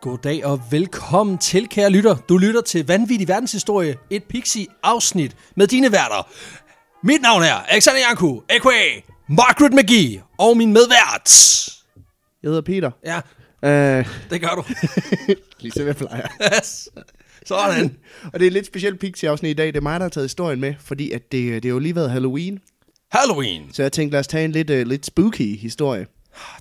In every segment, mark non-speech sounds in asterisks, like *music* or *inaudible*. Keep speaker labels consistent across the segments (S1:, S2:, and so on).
S1: goddag og velkommen til, kære lytter. Du lytter til Vanvittig Verdenshistorie, et Pixie-afsnit med dine værter. Mit navn er Alexander Janku, a.k.a. Margaret McGee, og min medvært.
S2: Jeg hedder Peter.
S1: Ja, *laughs*
S2: Øh,
S1: det gør du.
S2: ligesom jeg plejer.
S1: Yes. Sådan.
S2: *laughs* og det er et lidt specielt Pixie-afsnit i dag. Det er mig, der har taget historien med, fordi at det, det er jo lige været Halloween.
S1: Halloween.
S2: Så jeg tænkte, lad os tage en lidt, uh, lidt spooky historie.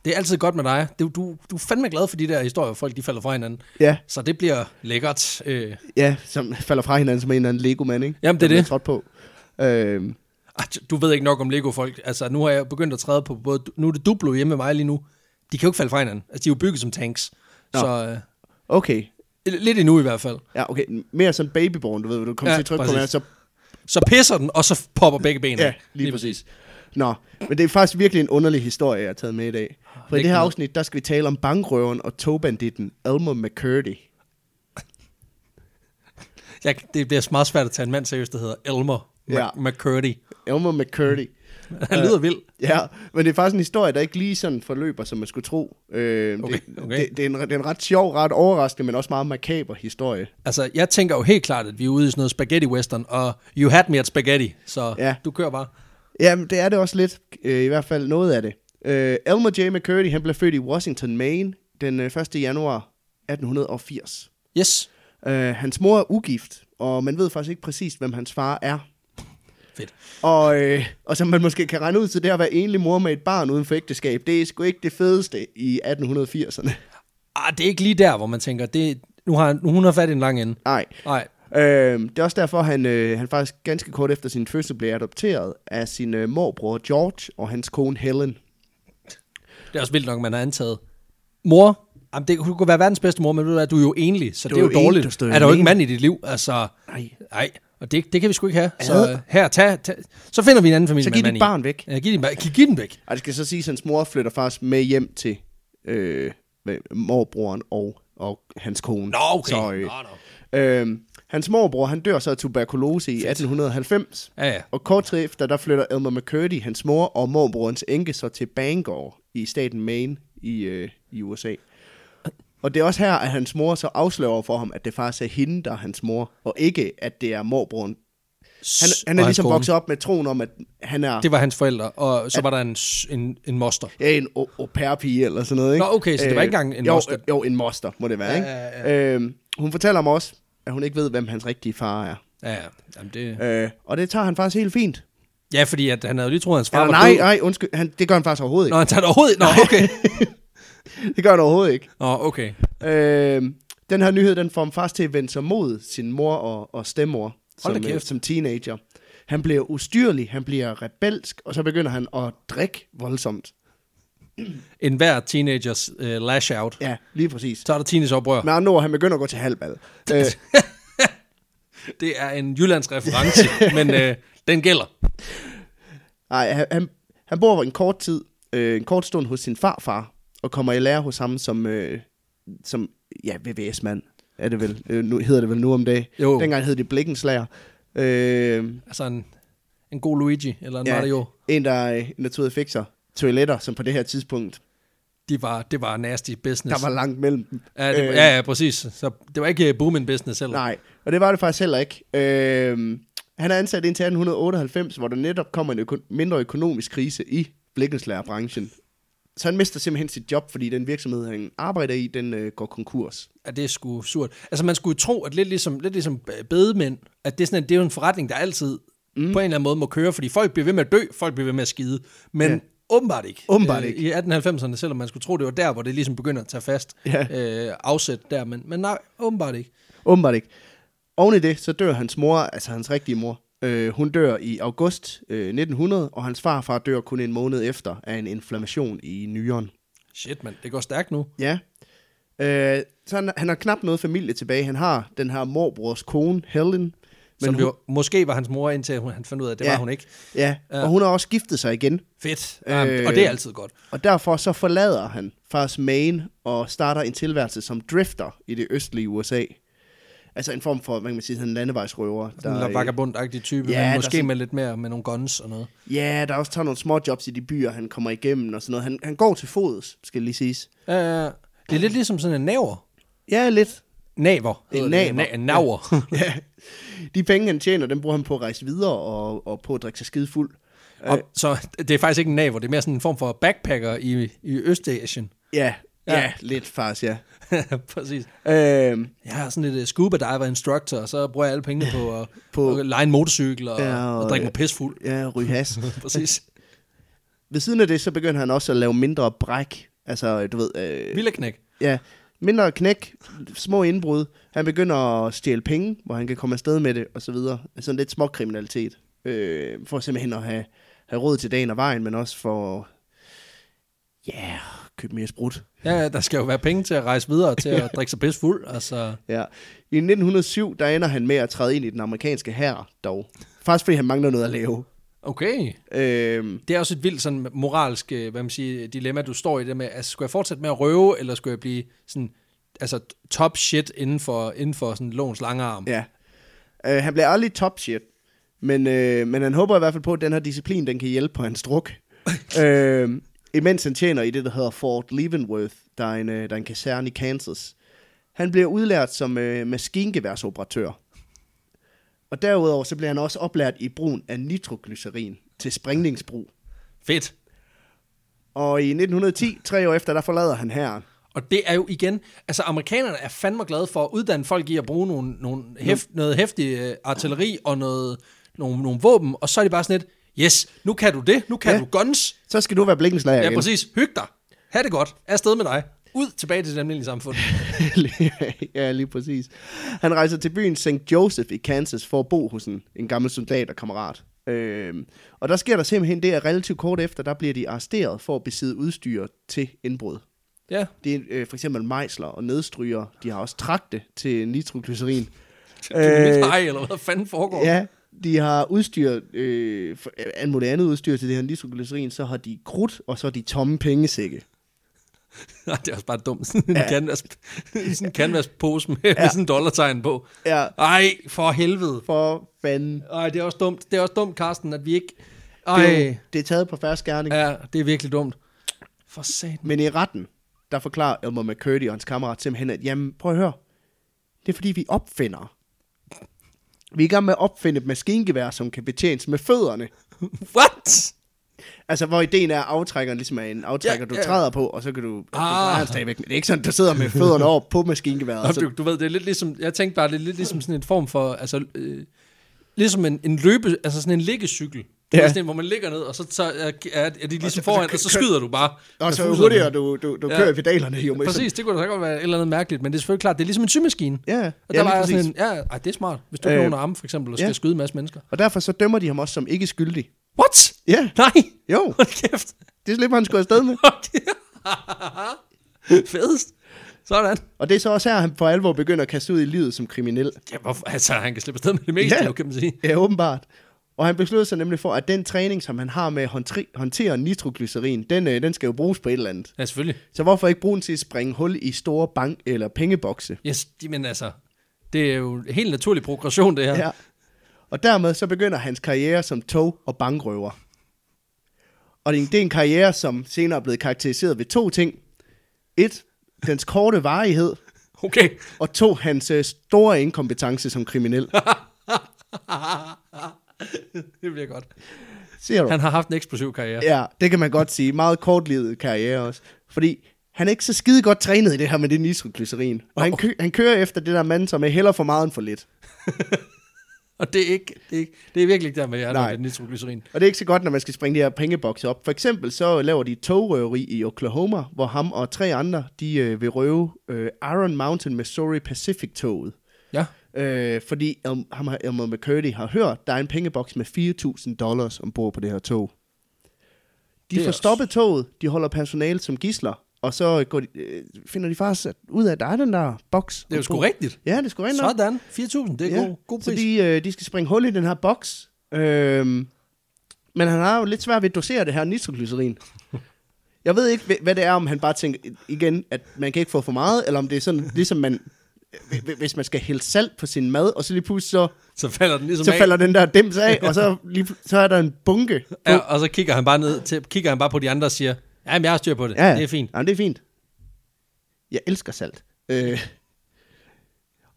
S1: Det er altid godt med dig. Du, du, du er fandme glad for de der historier, hvor folk de falder fra hinanden.
S2: Ja,
S1: Så det bliver lækkert. Øh,
S2: ja som falder fra hinanden som en eller anden Lego-mand, ikke?
S1: Jamen, det er
S2: Der bliver
S1: det.
S2: Trådt på. Øh,
S1: Ej, ah, du ved ikke nok om Lego-folk. Altså, nu har jeg begyndt at træde på både... Nu er det Duplo hjemme med mig lige nu. De kan jo ikke falde fra hinanden. Altså, de er jo bygget som tanks. Nå.
S2: Nå.
S1: Så øh,
S2: okay.
S1: lidt endnu i hvert fald.
S2: Ja, okay. Mere sådan babyborn, du ved, hvor du kommer
S1: Ja,
S2: ja, til at trykke
S1: præcis.
S2: på, den, og så
S1: Så pisser den, og så popper begge ben
S2: Ja,
S1: af.
S2: lige, lige præcis. Nå, men det er faktisk virkelig en underlig historie, jeg har taget med i dag. For i
S1: Læg
S2: det her
S1: den ud.
S2: afsnit, der skal vi tale om bankrøveren og togbanditten Elmer McCurdy.
S1: Jeg, det bliver meget svært at tage en mand seriøst, der hedder Elmer ja.
S2: Ja.
S1: McCurdy.
S2: Elmer McCurdy.
S1: Mm. Han lyder vild.
S2: Ja, men det er faktisk en historie, der ikke lige sådan forløber, som man skulle tro. Øh,
S1: Okay,
S2: det,
S1: okay.
S2: Det, det, er en, det er en ret sjov, ret overraskende, men også meget makaber historie.
S1: Altså, jeg tænker jo helt klart, at vi er ude i sådan noget spaghetti-western, og you had me at spaghetti, så ja.
S2: Ja.
S1: du kører bare.
S2: Jamen, det er det også lidt, øh, i hvert fald noget af det. Øh, Elmer J. McCurdy, han blev født i Washington, Maine, den øh, 1. januar 1880.
S1: Yes,
S2: Øh, hans mor er ugift, og man ved faktisk ikke præcis, hvem hans far er.
S1: fedt.
S2: Og, øh, og som man måske kan regne ud til, det at være enlig mor med et barn uden for ægteskab, det er sgu ikke det fedeste i 1880'erne.
S1: Ah, det er ikke lige der, hvor man tænker, det, nu har nu hun har fat i en lang ende.
S2: Nej.
S1: Nej,
S2: Øh, det er også derfor, han, øh, han faktisk ganske kort efter sin fødsel blev adopteret af sin øh, morbror George og hans kone Helen.
S1: det er også vildt nok, man har antaget. Mor, jamen det, hun kunne være verdens bedste mor, men ved du hvad, du er jo enlig, så
S2: Du
S1: det er jo
S2: er jo enlig,
S1: dårligt.
S2: du står jo
S1: er der jo ikke
S2: alene.
S1: mand i dit liv? Altså,
S2: Nej.
S1: nej. Og det, det kan vi sgu ikke have. Så
S2: Ad.
S1: øh, her, tag, tag, så finder vi en anden familie
S2: Så
S1: med
S2: giv
S1: mand
S2: dit
S1: i.
S2: barn væk.
S1: Ja, giv, din, ba- giv, giv den væk.
S2: Og det skal så sige, at hans mor flytter faktisk med hjem til øh, hvad- morbroren og, og hans kone.
S1: Nå, okay.
S2: Så, øh,
S1: Nå, nå.
S2: Øh, hans morbror, han dør så af tuberkulose i 1890.
S1: Ja, ja.
S2: Og kort tid efter, der flytter Elmer McCurdy, hans mor og morbrorens enke, så til Bangor i staten Maine i, øh, i USA. Og det er også her, at hans mor så afslører for ham, at det faktisk er hende, der er hans mor, og ikke, at det er morbroren. Han, han
S1: Og
S2: er
S1: hans
S2: ligesom
S1: kone.
S2: vokset op med troen om, at han er
S1: Det var hans forældre, og så var der en, s- en, en moster.
S2: ja, en au, au pair-pige eller sådan noget. Ikke? Øh,
S1: Nå, okay, så det var ikke engang en
S2: jo,
S1: moster.
S2: Jo, en moster må det være.
S1: Ja,
S2: Ikke?
S1: ja,
S2: Øh, hun fortæller mig også, at hun ikke ved, hvem hans rigtige far er.
S1: Ja, ja. Jamen, det...
S2: Øh, og det tager han faktisk helt fint.
S1: ja fordi at han havde jo lige troet, at hans far
S2: Eller,
S1: var
S2: nej,
S1: død.
S2: nej, undskyld. Han, det gør han faktisk overhovedet ikke.
S1: Nå, han tager det overhovedet. Nå, okay.
S2: Det gør han overhovedet ikke.
S1: Nå, okay.
S2: Øh, den her nyhed, den får ham faktisk til at vende sig mod sin mor og, og stemmor
S1: Hold da
S2: som, øh,
S1: kæft.
S2: som teenager. Han bliver ustyrlig, han bliver rebelsk, og så begynder han at drikke voldsomt.
S1: En hver teenagers øh, lash out.
S2: Ja, lige præcis.
S1: Så er der teenage oprør.
S2: Med andre ord, han begynder at gå til halvbal. Øh,
S1: Det er en Jyllands reference,
S2: *laughs*
S1: men øh, den gælder.
S2: nej, han- han, han bor en kort tid, øh, en kort stund hos sin farfar, og kommer i lære hos ham som, øh, som ja, VVS-mand, er det vel. Øh, nu hedder det vel nu om dagen.
S1: Jo.
S2: Dengang hed det blikkenslager. Øh,
S1: Altså en, en god Luigi eller en ja.
S2: Ja.
S1: Mario.
S2: en, der, øh, en, der tog ud og fik sig toiletter, som på det her tidspunkt
S1: De var, det var nasty business.
S2: Der var langt mellem dem.
S1: ja, det,
S2: Øh,
S1: ja, ja, præcis. Så det var ikke øh, booming business selv.
S2: Nej, og det var det faktisk heller ikke. Øh, han er ansat indtil 1898, hvor der netop kommer en øko- mindre økonomisk krise i blikkenslagerbranchen. Så han mister simpelthen sit job, fordi den virksomhed, han arbejder i, den øh, går konkurs.
S1: Ja, det er sgu surt. Altså man skulle tro, at lidt ligesom, lidt ligesom øh, bedemænd, at det er, sådan, en- det er jo en forretning, der altid mm. på en eller anden måde må køre, fordi folk bliver ved med at dø, folk bliver ved med at skide. Men ja.
S2: Ja.
S1: åbenbart ikke. Øh,
S2: Åbenbart ikke.
S1: I 1890'erne, selvom man skulle tro, det var der, hvor det ligesom begynder at tage fast
S2: Ja.
S1: øh, afsæt der. Men, men nej, åbenbart ikke.
S2: Åbenbart ikke. Oven i det, så dør hans mor, altså hans rigtige mor. Øh, hun dør i august øh, 1900, og hans farfar dør kun en måned efter af en inflammation i nyren.
S1: Shit, mand. Det går stærkt nu.
S2: Ja. Øh, så han, han har knap noget familie tilbage. Han har den her morbrors kone, Helen. Men
S1: Men som
S2: hun,
S1: hun... jo måske var hans mor, indtil hun, han fandt ud af, at det ja.
S2: Ja.
S1: var hun ikke.
S2: Ja,
S1: Ja.
S2: og hun har også giftet sig igen.
S1: Fedt. Jamen,
S2: Øh.
S1: Og det er altid godt.
S2: Og derfor så forlader han faktisk Maine og starter en tilværelse som drifter i det østlige USA. Altså en form for, hvad kan man sige, sådan en landevejsrøver.
S1: Den der
S2: øh,
S1: vagabundagtige type,
S2: Ja,
S1: ja, men
S2: der
S1: måske
S2: er sådan-
S1: med lidt mere med nogle guns og noget.
S2: øh, ja, der også tager nogle små jobs i de byer, han
S1: Øh,
S2: kommer igennem og sådan noget. Han, han går til fods, skal lige siges.
S1: Uh, det er lidt ligesom sådan en naver. *laughs*
S2: Ja, lidt.
S1: Naver. hedder det.
S2: naver.
S1: Na- naver.
S2: ja. De penge, han tjener, dem bruger han på at rejse videre og, og på at drikke sig skide fuld.
S1: *laughs* Og, så det er faktisk ikke en naver, det er mere sådan en form for backpacker i, i Østasien. *laughs*
S2: Ja,
S1: Ja.
S2: ja, ja lidt faktisk, ja.
S1: Præcis.
S2: Øhm,
S1: Jeg er sådan lidt øh, scuba diver instructor, og så bruger jeg alle pengene på at, på,
S2: På-
S1: at lege en motorcykel og,
S2: Ja,
S1: og,
S2: og-
S1: og drikke mig pisfuld.
S2: ja, Ryhas.
S1: *laughs* Præcis.
S2: Ved siden af det, så begynder han også at lave mindre bræk. Altså, du ved... Øh,
S1: Villeknæk.
S2: Ja, mindre knæk, små indbrud. Han begynder at stjæle penge, hvor han kan komme afsted med det, og så videre. Sådan lidt små kriminalitet. Øh, for simpelthen at have, have råd til dagen og vejen, men også for... Ja, yeah, købe mere sprut.
S1: Ja, der skal jo være penge til at rejse videre, til at drikke sig pisfuld. Altså,
S2: Ja. I 1907, der ender han med at træde ind i den amerikanske hær, dog. Faktisk fordi han mangler noget at lave.
S1: okay.
S2: Øh,
S1: Det er også et vildt sådan moralsk øh, hvad man siger, dilemma, du står i det med, altså skulle jeg fortsætte med at røve, eller skulle jeg blive sådan, altså top shit inden for, inden for sådan lovens lange arm?
S2: ja. Øh, han bliver aldrig top shit, men, øh, men han håber i hvert fald på, at den her disciplin, den kan hjælpe på hans druk. øh, imens han tjener i det, der hedder Fort Leavenworth, der er en, øh, der er en kaserne i Kansas. Han bliver udlært som øh, maskingeværsoperatør. Og derudover så bliver han også oplært i brugen af nitroglycerin til sprængningsbrug.
S1: Fedt.
S2: Og i 1910, tre år efter, der forlader han herren.
S1: Og det er jo igen, altså amerikanerne er fandme glade for at uddanne folk i at bruge nogle, nogle hef, noget hæftig øh, artilleri og noget, nogle, nogle våben, og så er de bare sådan lidt, yes, nu kan du det, nu kan ja.
S2: Ja.
S1: du guns.
S2: Så skal du være blikkenslager
S1: Ja,
S2: igen.
S1: præcis, hyg dig, ha' det godt, er afsted med dig, ud tilbage til det almindelige samfund.
S2: *laughs* ja, lige præcis. Han rejser til byen St. Joseph i Kansas for at bo hos en, en gammel soldat og kammerat. Øhm, og der sker der simpelthen det, at relativt kort efter, der bliver de arresteret for at besidde udstyr til indbrud.
S1: Ja,
S2: Det er øh, for eksempel mejsler og nedstryger. De har også trakte til nitroglycerin.
S1: øh, mit hej, eller hvad fanden foregår.
S2: Ja, de har udstyr, øh, for- alt muligt andet udstyr til det her nitroglycerin, så har de krudt, og så har de tomme pengesække.
S1: *laughs* Nej, det er også bare dumt. Sådan en, ja. canvas, *laughs* sådan en canvaspose med, ja. med sådan en dollartegn på.
S2: Ja.
S1: Ej, for helvede.
S2: For fanden.
S1: Ej, det er også dumt. Det er også dumt, Carsten, at vi ikke... Ej,
S2: Det er, jo, det er taget på færre skærning.
S1: ja, det er virkelig dumt. For satan.
S2: Men i retten, der forklarer Elmer McCurdy og hans kammerat simpelthen, at jamen, prøv at høre, det er fordi, vi opfinder. Vi er i gang med at opfinde et maskingevær, som kan betjenes med fødderne.
S1: What?
S2: Altså, hvor ideen er, at aftrækkeren ligesom er en aftrækker,
S1: Ja,
S2: du
S1: ja.
S2: træder på, og så kan du... Ah.
S1: Ah.
S2: du drejer den stadigvæk. Men det er ikke sådan, du sidder med fødderne over på maskingeværet.
S1: Nå,
S2: så-
S1: du, du ved, det er lidt ligesom... Jeg tænkte bare, det er lidt ligesom sådan en form for... Altså, øh, ligesom en, en løbe... Altså sådan en liggecykel. Ja. Det er
S2: Ja.
S1: sådan en, hvor man ligger ned, og så tager, er, er de ligesom
S2: så-
S1: foran,
S2: så-
S1: og så skyder du bare.
S2: og
S1: med
S2: så jo
S1: fuserne.
S2: hurtigere du, du, du
S1: Ja.
S2: ja. kører i pedalerne, jo mere.
S1: Præcis, det kunne da så godt være et eller andet mærkeligt, men det er selvfølgelig klart, det er ligesom en symaskine.
S2: Ja, ja,
S1: Og der ja,
S2: lige
S1: var jeg sådan
S2: præcis.
S1: en, ja, ej, det er smart. Hvis du øh,
S2: Øh,
S1: nogen arme, for eksempel, og skal ja.
S2: ja.
S1: skyde en masse mennesker.
S2: Og derfor så dømmer de ham også som ikke skyldig.
S1: What?
S2: Ja,
S1: *laughs* Nej!
S2: jo.
S1: Hold kæft.
S2: Det slipper han sgu afsted med.
S1: Hold *laughs* kæft. Fedest. Sådan.
S2: Og det er så også her, han for alvor begynder at kaste ud i livet som kriminel.
S1: Ja, hvorfor? Altså, han kan slippe afsted med det meste,
S2: Ja.
S1: jo, kan man sige.
S2: *laughs* Ja, åbenbart. Og han besluttede sig nemlig for, at den træning, som han har med at håndtri- håndtere nitroglycerin, den, øh, den skal jo bruges på et eller andet.
S1: Ja, selvfølgelig.
S2: Så hvorfor ikke bruge den til at springe hul i store bank- eller pengebokse?
S1: Yes, de- men altså, det er jo helt naturlig progression, det her.
S2: Ja. Og dermed så begynder hans karriere som tog- og bankrøver. Og det er en- det er en karriere, som senere er blevet karakteriseret ved to ting. Et, dens korte varighed,
S1: Okay. *laughs*
S2: og to, hans øh, store inkompetence som kriminel.
S1: det bliver godt.
S2: Ser du?
S1: Han har haft en eksplosiv karriere.
S2: Ja, det kan man godt sige. Meget kortlivet karriere også. Fordi han er ikke så skide godt trænet i det her med det nitroglycerin. Og han, kø- han kører efter det der mand, som er heller for meget end for lidt.
S1: Og det er, ikke, det, er ikke, det er virkelig ikke der med, at jeg har
S2: Nej.
S1: lidt nitroglycerin.
S2: Og det er ikke så godt, når man skal springe de her pengebokse op. For eksempel så laver de et togrøveri i Oklahoma, hvor ham og tre andre, de øh, vil røve øh, Iron Mountain, Missouri Pacific-toget.
S1: Ja.
S2: Øh, fordi El- ham her, Elmer McCurdy har hørt, der er en pengeboks med 4.000 dollars ombord på det her tog. De
S1: Det er
S2: får
S1: også-
S2: stoppet toget, de holder personale som gisler, og så går de, øh, finder de faktisk at- ud af, at der er den der boks.
S1: Det er jo sgu
S2: ombord.
S1: rigtigt.
S2: Ja, det er sgu rigtigt. nok.
S1: Sådan. 4.000, det er ja. god, god
S2: Så
S1: pris.
S2: de, øh, de skal springe hul i den her boks. Øhm, men han har jo lidt svært ved at dosere det her nitroglycerin. Jeg ved ikke, hva- hvad det er, om han bare tænker igen, at man kan ikke få for meget, eller om det er sådan, ligesom man, hv- hvis man skal hælde salt på sin mad, og så lige pludselig så,
S1: Så falder den ligesom
S2: så
S1: af.
S2: falder den der dims af, og så, lige, pl- så er der en bunke. på.
S1: Ja, og så kigger han bare ned til, kigger han bare på de andre og siger, ja, men jeg har styr på det. Ja. Det er fint.
S2: Jamen, det er fint. Jeg elsker salt. Øh,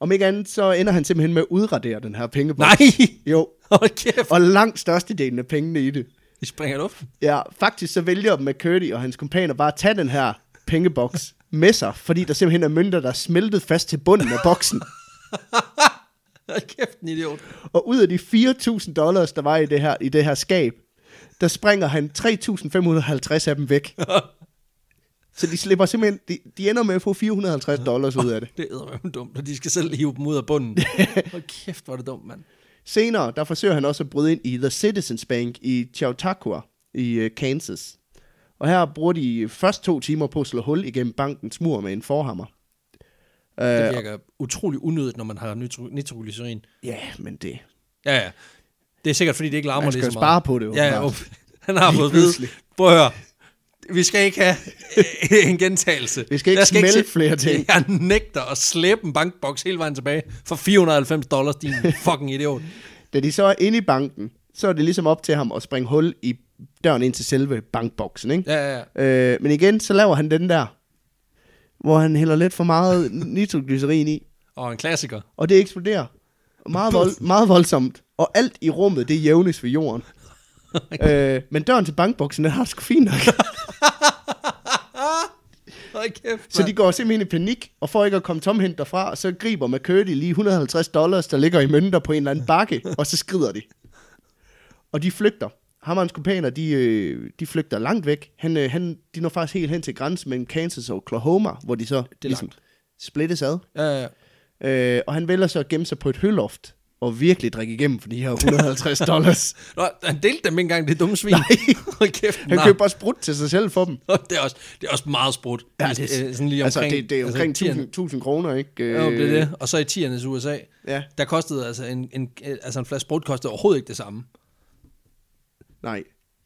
S2: Om ikke andet, så ender han simpelthen med at udradere den her pengeboks.
S1: Nej! *laughs*
S2: Jo,
S1: Hold kæft,
S2: og langt størstedelen af pengene i det.
S1: de springer i luften.
S2: Ja, faktisk så vælger McCurdy og hans kompaner bare at tage den her pengeboks med sig, fordi der simpelthen er mønter, der er smeltet fast til bunden af boksen.
S1: Hold kæft, en idiot.
S2: Og ud af de 4.000 dollars, der var i det her, i det her skab, der springer han 3.550 af dem væk. Så de slipper simpelthen, de, de ender med at få 450 dollars ud af det.
S1: Det er jo dumt, og de skal selv hive dem ud af
S2: *laughs*
S1: bunden. Hold kæft, hvor er det dumt, mand.
S2: Senere, der forsøger han også at bryde ind i The Citizens Bank i Chautauqua i øh, Kansas. Og her bruger de først to timer på at slå hul igennem bankens mur med en forhammer. Øh,
S1: Det virker utrolig unødigt, når man har nitro- nitroglycerin.
S2: Ja, men det...
S1: Ja, ja. Det er sikkert, fordi det ikke larmer
S2: Man
S1: lige
S2: skal
S1: så
S2: jo
S1: meget.
S2: spare på det,
S1: Ja, ja,
S2: åbenbart.
S1: op. *laughs* Han har
S2: Lige
S1: fået at vide.
S2: pludselig.
S1: Prøv at høre. Vi skal ikke have *laughs* øh, en gentagelse.
S2: Vi skal ikke
S1: Jeg
S2: smelte
S1: se-
S2: flere ting.
S1: Jeg nægter at slæbe en bankboks hele vejen tilbage for 490 dollars,
S2: *laughs*
S1: din fucking idiot.
S2: Da de så er inde i banken, så er det ligesom op til ham at springe hul i døren ind til selve bankboksen, ikke?
S1: Ja, ja, ja.
S2: Øh, men igen, så laver han den der, hvor han hælder lidt for meget nitroglycerin i,
S1: Og en klassiker.
S2: og det eksploderer. Og Meget, vold, meget voldsomt. Og alt i rummet, det jævnes ved jorden. øh, men døren til bankboksen, den har det sgu fint nok.
S1: Hold kæft,
S2: Så de går simpelthen i panik, og for ikke at komme tomhænt derfra, og så griber McCurdy lige 150 dollars, der ligger i mønter på en eller anden bakke, og så skrider de. Og de flygter. Ham og hans kumpaner, de, øh, de flygter langt væk. Han, øh, han, de når faktisk helt hen til grænsen mellem Kansas og Oklahoma, hvor de så ligesom splittes ad.
S1: Ja, ja.
S2: Øh, og han vælger så at gemme sig på et høloft og virkelig drikke igennem for de
S1: *laughs*
S2: her 150 dollars.
S1: Nå, han delte dem ikke engang, det dumme svin. Nej. *laughs* Hold kæft,
S2: Han
S1: nej.
S2: køber også brudt til sig selv for dem.
S1: Nå, Det er, også, det er også meget sprudt. I- øh, sådan lige
S2: altså,
S1: omkring,
S2: det, det er omkring altså, 1000, 1000 kroner, ikke? Øh,
S1: Ja, det er det. Og så i tiernes USA,
S2: Ja.
S1: der kostede altså en, en, altså en flaske sprut kostede overhovedet ikke det samme.
S2: Nej,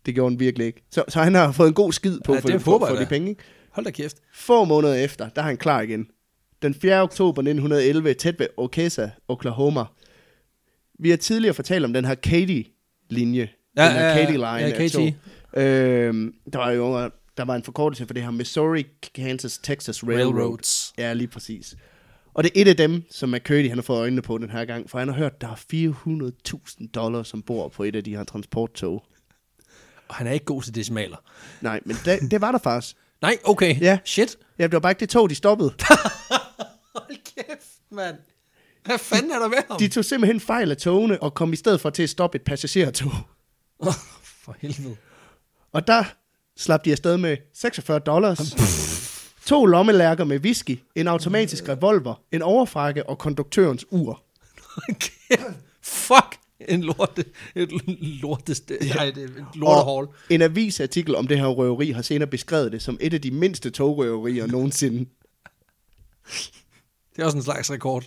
S2: det gjorde han virkelig ikke. Så, så han har fået en god skid på
S1: Ja,
S2: ja, for,
S1: det
S2: det for,
S1: håber
S2: for
S1: jeg
S2: de
S1: da.
S2: penge. ikke?
S1: Hold da kæft.
S2: Få måneder efter, der er han klar igen. Den 4. oktober 1911, tæt ved Okesa, Oklahoma. Vi har tidligere fortalt om den her Katie-linje.
S1: Ja,
S2: den her
S1: ja, ja.
S2: Katie-line.
S1: Ja,
S2: af
S1: Katie.
S2: tog. Øhm, der var jo der var en forkortelse for det her Missouri, Kansas, Texas Railroad.
S1: Railroads.
S2: Ja, lige præcis. Og det er et af dem, som McCurdy han har fået øjnene på den her gang, for han har hørt, at der er 400.000 dollars som bor på et af de her transporttog.
S1: Og han er ikke god til decimaler.
S2: Nej, men det, det var der faktisk.
S1: Nej, okay.
S2: Ja.
S1: Shit.
S2: Ja, det var bare ikke det tog, de stoppede.
S1: Hold kæft, mand. Hvad fanden er der med ham?
S2: De tog simpelthen fejl af togene og kom i stedet for til at stoppe et passagertog.
S1: Åh, For helvede.
S2: Og der slap de afsted med 46 dollars,
S1: *laughs*
S2: to lommelærker med whisky, en
S1: Øh.
S2: automatisk revolver, en overfrakke og konduktørens ur.
S1: Hold kæft. Fuck. En lorte, et lortest, nej, det er et lortehål.
S2: Og en avisartikel om det her røveri har senere beskrevet det som et af de mindste togrøverier
S1: *laughs*
S2: nogensinde.
S1: Det er også en slags rekord.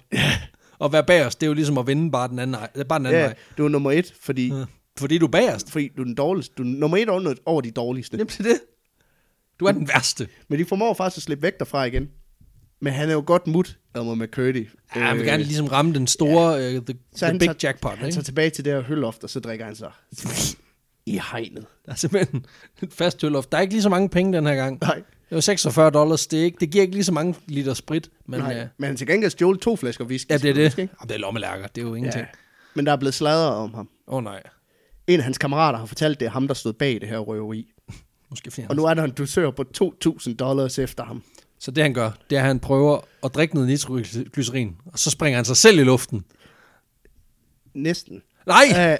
S1: Og være bagerst, det er jo ligesom at vinde bare den anden, nej, bare den anden
S2: Ja,
S1: vej.
S2: du er nummer et, fordi,
S1: Fordi du er bagerst.
S2: fordi du er den dårligste. Du er nummer et over- over de dårligste.
S1: Jamen, det er det. Du er den værste.
S2: Men de formår faktisk at slippe væk derfra igen. Men han er jo godt mut, Elmer McCurdy. Øh,
S1: Ja, han vil gerne ligesom ramme den store, ja. uh, the,
S2: Så
S1: the
S2: han
S1: big
S2: tager,
S1: jackpot,
S2: Han
S1: ikke?
S2: tager tilbage til det her hølloft, og så drikker han sig i hegnet.
S1: Der er simpelthen *laughs* et fast tølloft. Der er ikke lige så mange penge den her gang.
S2: Nej.
S1: Det var 46 dollars. Det, er ikke, det giver ikke lige så mange liter sprit. Men
S2: Men,
S1: Nej.
S2: Nej,
S1: Øh,
S2: men han til gengæld stjålet to flasker whisky.
S1: ja, det er det.
S2: selvfølgelig,
S1: Jamen, det er lommelærker. Det er jo
S2: ikke?
S1: ingenting.
S2: Ja. Men der er blevet sladret om ham.
S1: Åh oh, nej.
S2: En af hans kammerater har fortalt, det er ham, der stod bag det her røveri.
S1: Måske fordi
S2: Og
S1: han...
S2: nu er der en dusør på 2.000 dollars efter ham.
S1: Så det han gør, det er, at han prøver at drikke noget nitroglycerin. Og så springer han sig selv i luften.
S2: Næsten.
S1: Nej!
S2: Øh,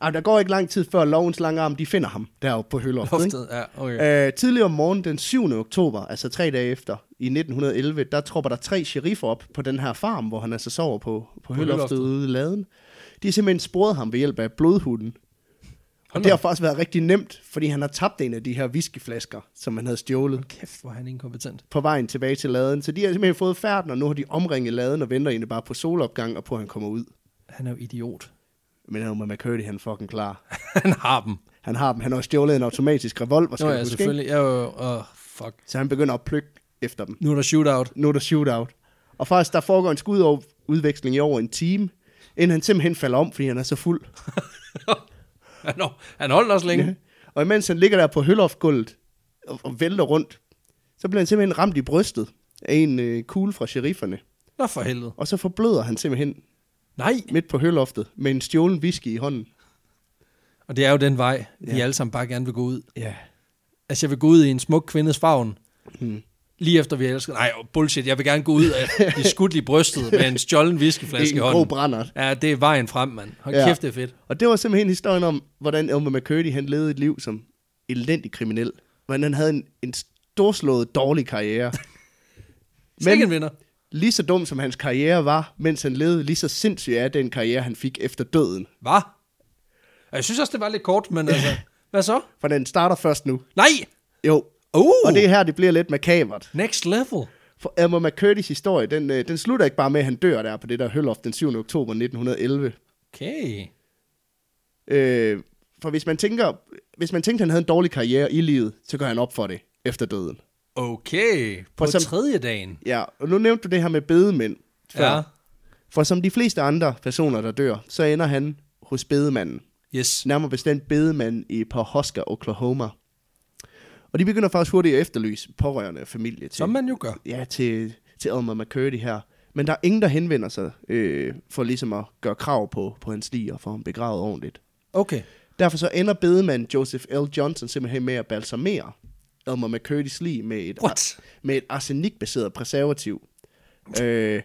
S2: ah, der går ikke lang tid før lovens lange arm, de finder ham deroppe på høloftet.
S1: *laughs*
S2: ikke?
S1: Loftet, ja, okay.
S2: Øh, tidligere om morgenen den 7. oktober, altså tre dage efter, i 1911, der tropper der tre sheriffer op på den her farm, hvor han altså sover på, på, på høloftet
S1: høloftet.
S2: ude i laden. De har simpelthen sporet ham ved hjælp af blodhunden.
S1: Hold da
S2: Og det har
S1: op.
S2: faktisk været rigtig nemt, fordi han har tabt en af de her whiskyflasker, som han havde stjålet
S1: Kæft, hvor er han inkompetent.
S2: på vejen tilbage til laden. Så de har simpelthen fået færden, og nu har de omringet laden og venter egentlig bare på solopgang og på, at han kommer ud.
S1: Han er jo idiot.
S2: Men Elmer McCurdy, han er fucking klar.
S1: *laughs* han har dem.
S2: Han har dem. Han har også stjålet en automatisk revolver, skal
S1: Nå
S2: du
S1: ja,
S2: huske, ikke?
S1: selvfølgelig. Ja, jo, jo. Åh, fuck.
S2: Så han begynder at plukke efter dem.
S1: Nu er der shootout.
S2: nu er der shootout. Og faktisk, der foregår en skududveksling i over en time, inden han simpelthen falder om, fordi han er så fuld.
S1: *laughs* han, hold- han holdt også længe.
S2: *laughs* Og imens han ligger der på hølofgulvet og, og vælter rundt, så bliver han simpelthen ramt i brystet af en øh, kugle fra sherifferne.
S1: Nå for helvede.
S2: Og så forbløder han simpelthen
S1: Nej,
S2: midt på høloftet med en stjålen whisky i hånden.
S1: og det er jo den vej, ja. vi
S2: Ja.
S1: alle sammen bare gerne vil gå ud.
S2: Ja.
S1: Altså, jeg vil gå ud i en smuk kvindes favn.
S2: Hmm.
S1: Lige efter vi har elsket. Nej, bullshit. Jeg vil gerne gå ud
S2: *laughs*
S1: og blive skudt i brystet med en stjålen
S2: Det
S1: whiskyflaske i
S2: er en grå
S1: hånden.
S2: brændert.
S1: Ja, det er vejen frem, mand. Hold
S2: Ja.
S1: kæft, det er fedt.
S2: Og det var simpelthen historien om, hvordan Elmer McCurdy han levede et liv som elendig kriminel. Hvordan han havde en, en storslået dårlig karriere.
S1: Sikke en vinder.
S2: lige så dum som hans karriere var, mens han levede, lige så sindssyg er den karriere, han fik efter døden.
S1: Hvad? Jeg synes også, det var lidt kort, men altså...
S2: *laughs*
S1: Hvad så?
S2: For den starter først nu.
S1: Nej!
S2: Jo.
S1: Uh,
S2: Og det er her, det bliver lidt makabert.
S1: next level.
S2: For Elmer McCurdy's historie, den, øh, den slutter ikke bare med, at han dør der på det der Høllof den 7. oktober 1911.
S1: Okay.
S2: Øh, for hvis man tænker, hvis man tænkte, han havde en dårlig karriere i livet, så gør han op for det efter døden.
S1: Okay. På
S2: Og som-
S1: tredje dagen.
S2: Ja, og nu nævnte du det her med bedemænd før.
S1: Ja.
S2: Ja. For som de fleste andre personer, der dør, så ender han hos bedemanden.
S1: Yes.
S2: Nærmere bestemt bedemanden i Pahoska, Oklahoma. Og de begynder faktisk hurtigt at efterlyse pårørende og familie til,
S1: Som man jo gør.
S2: ja, til, til Elmer McCurdy her. Men der er ingen, der henvender sig øh, for ligesom at gøre krav på, på hans lig og få ham begravet ordentligt.
S1: Okay.
S2: Derfor så ender bedemanden Joseph L. Johnson simpelthen med at balsamere Elmer McCurdy's lig med et,
S1: What?
S2: med et arsenikbaseret præservativ. Øh,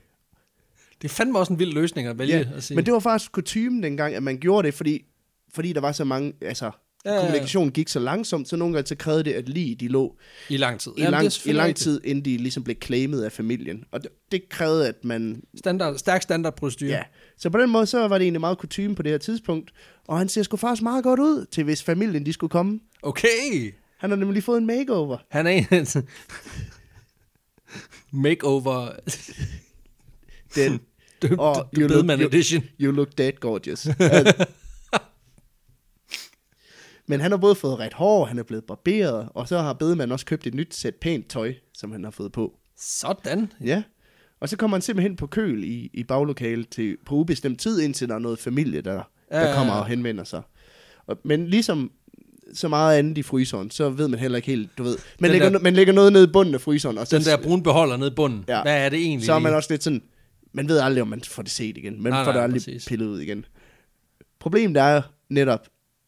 S1: Det er fandme også en vild løsning at vælge
S2: ja,
S1: at sige.
S2: men det var faktisk kutumen dengang, at man gjorde det, fordi, fordi der var så mange, altså,
S1: Ja, ja, ja.
S2: ja, kommunikationen gik så langsomt, så nogle gange så krævede det, at lige de lå
S1: I lang tid.
S2: i lang,
S1: det er
S2: i
S1: selvfølgelig
S2: lang
S1: rigtigt.
S2: tid, inden de ligesom blev claimet af familien. Og det, det krævede, at man...
S1: Standard, stærk standardprocedur.
S2: Ja. Så på den måde, så var det egentlig meget kutume på det her tidspunkt. Og han ser sgu faktisk meget godt ud til, hvis familien de skulle komme.
S1: Okay.
S2: Han har nemlig fået en makeover.
S1: Han er en... *laughs* Makeover...
S2: Den.
S1: *laughs* Døbt
S2: Og
S1: oh,
S2: you
S1: Bedman
S2: look- you-
S1: Edition.
S2: You look dead
S1: *laughs*
S2: gorgeous. Altså. Men han har både fået ret hår, han er blevet barberet, og så har bedemanden også købt et nyt sæt pænt tøj, som han har fået på.
S1: Sådan.
S2: Ja. Og så kommer han simpelthen på køl i, i baglokalet til, på ubestemt tid, indtil der er noget familie, der, ja,
S1: Ja, ja,
S2: der kommer
S1: ja.
S2: og henvender sig. Og, men ligesom så meget andet i fryseren, så ved man heller ikke helt, du ved. Man,
S1: Den
S2: lægger,
S1: der-
S2: no- man lægger noget ned i bunden af fryseren, og så,
S1: Den der brune beholder nede i bunden. Ja.
S2: Ja.
S1: Hvad er det egentlig?
S2: så er man
S1: lige?
S2: også lidt sådan, man ved aldrig, om man får det set igen. Man
S1: Nej,
S2: nej, får
S1: nej,
S2: det aldrig
S1: præcis.
S2: præcis. pillet ud igen. Problemet er netop,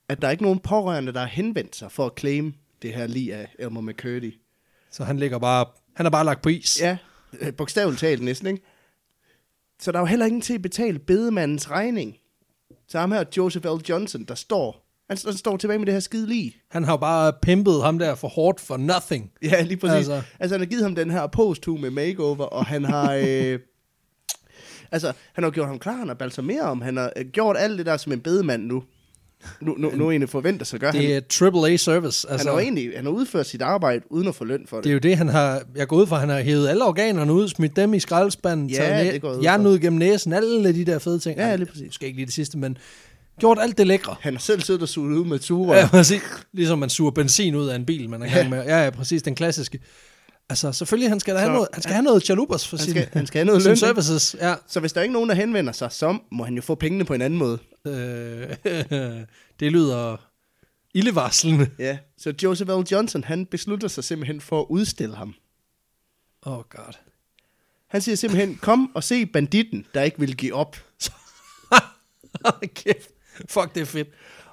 S2: at der er ikke nogen pårørende, der har henvendt sig for at claim det her lige af Elmer McCurdy.
S1: Så han ligger bare... Han er bare lagt på is.
S2: Ja, øh, bogstaveligt talt næsten, ikke? Så der er jo heller ingen til at betale bedemandens regning. Så ham her, Joseph L. Johnson, der står, han, han står tilbage med det her skide lige.
S1: Han har jo bare pimpet ham der for hårdt for nothing.
S2: *laughs* Ja, lige præcis.
S1: Altså.
S2: Altså, altså han har givet ham den her posthume makeover, og han
S1: *laughs*
S2: har... Øh, altså, han har gjort ham klar, han har balsameret ham, han har øh, gjort alt det der som en bedemand nu. Nu, nu, nu egentlig forventer sig gør han.
S1: Det er triple A service.
S2: Altså,
S1: Altså,
S2: han har jo egentlig han har udført sit arbejde uden at få løn for det.
S1: det er jo det, han har... Jeg går ud fra, at han har hævet alle organerne ud, smidt dem i skraldespanden,
S2: Ja,
S1: taget næ-
S2: det går jeg ud fra.
S1: hjernen ud gennem næsen, alle de der fede ting.
S2: Ja,
S1: Ej,
S2: lige præcis.
S1: Måske ikke lige det sidste, men gjort alt det lækre.
S2: Han har selv siddet og suget ud med ture.
S1: Ja, præcis. Ligesom man suger benzin ud af en bil, man er i gang med. Ja, ja, præcis. Den klassiske. Altså, selvfølgelig, han skal, da have,
S2: Så-
S1: noget, han skal have noget chalupas for
S2: Han
S1: sin,
S2: skal- han skal have
S1: *laughs*
S2: noget løn,
S1: sin
S2: ikke?
S1: services. Ja.
S2: Så hvis der ikke er nogen, der henvender sig, så må han jo få pengene på en anden måde.
S1: Øh, *laughs* det lyder ildevarslende.
S2: Ja. Så Joseph L. Johnson, han beslutter sig simpelthen for at udstille ham.
S1: Åh, oh god. *laughs*
S2: Han siger simpelthen, kom og se banditten, der ikke vil give op.
S1: Kæft. Fuck, det er fedt.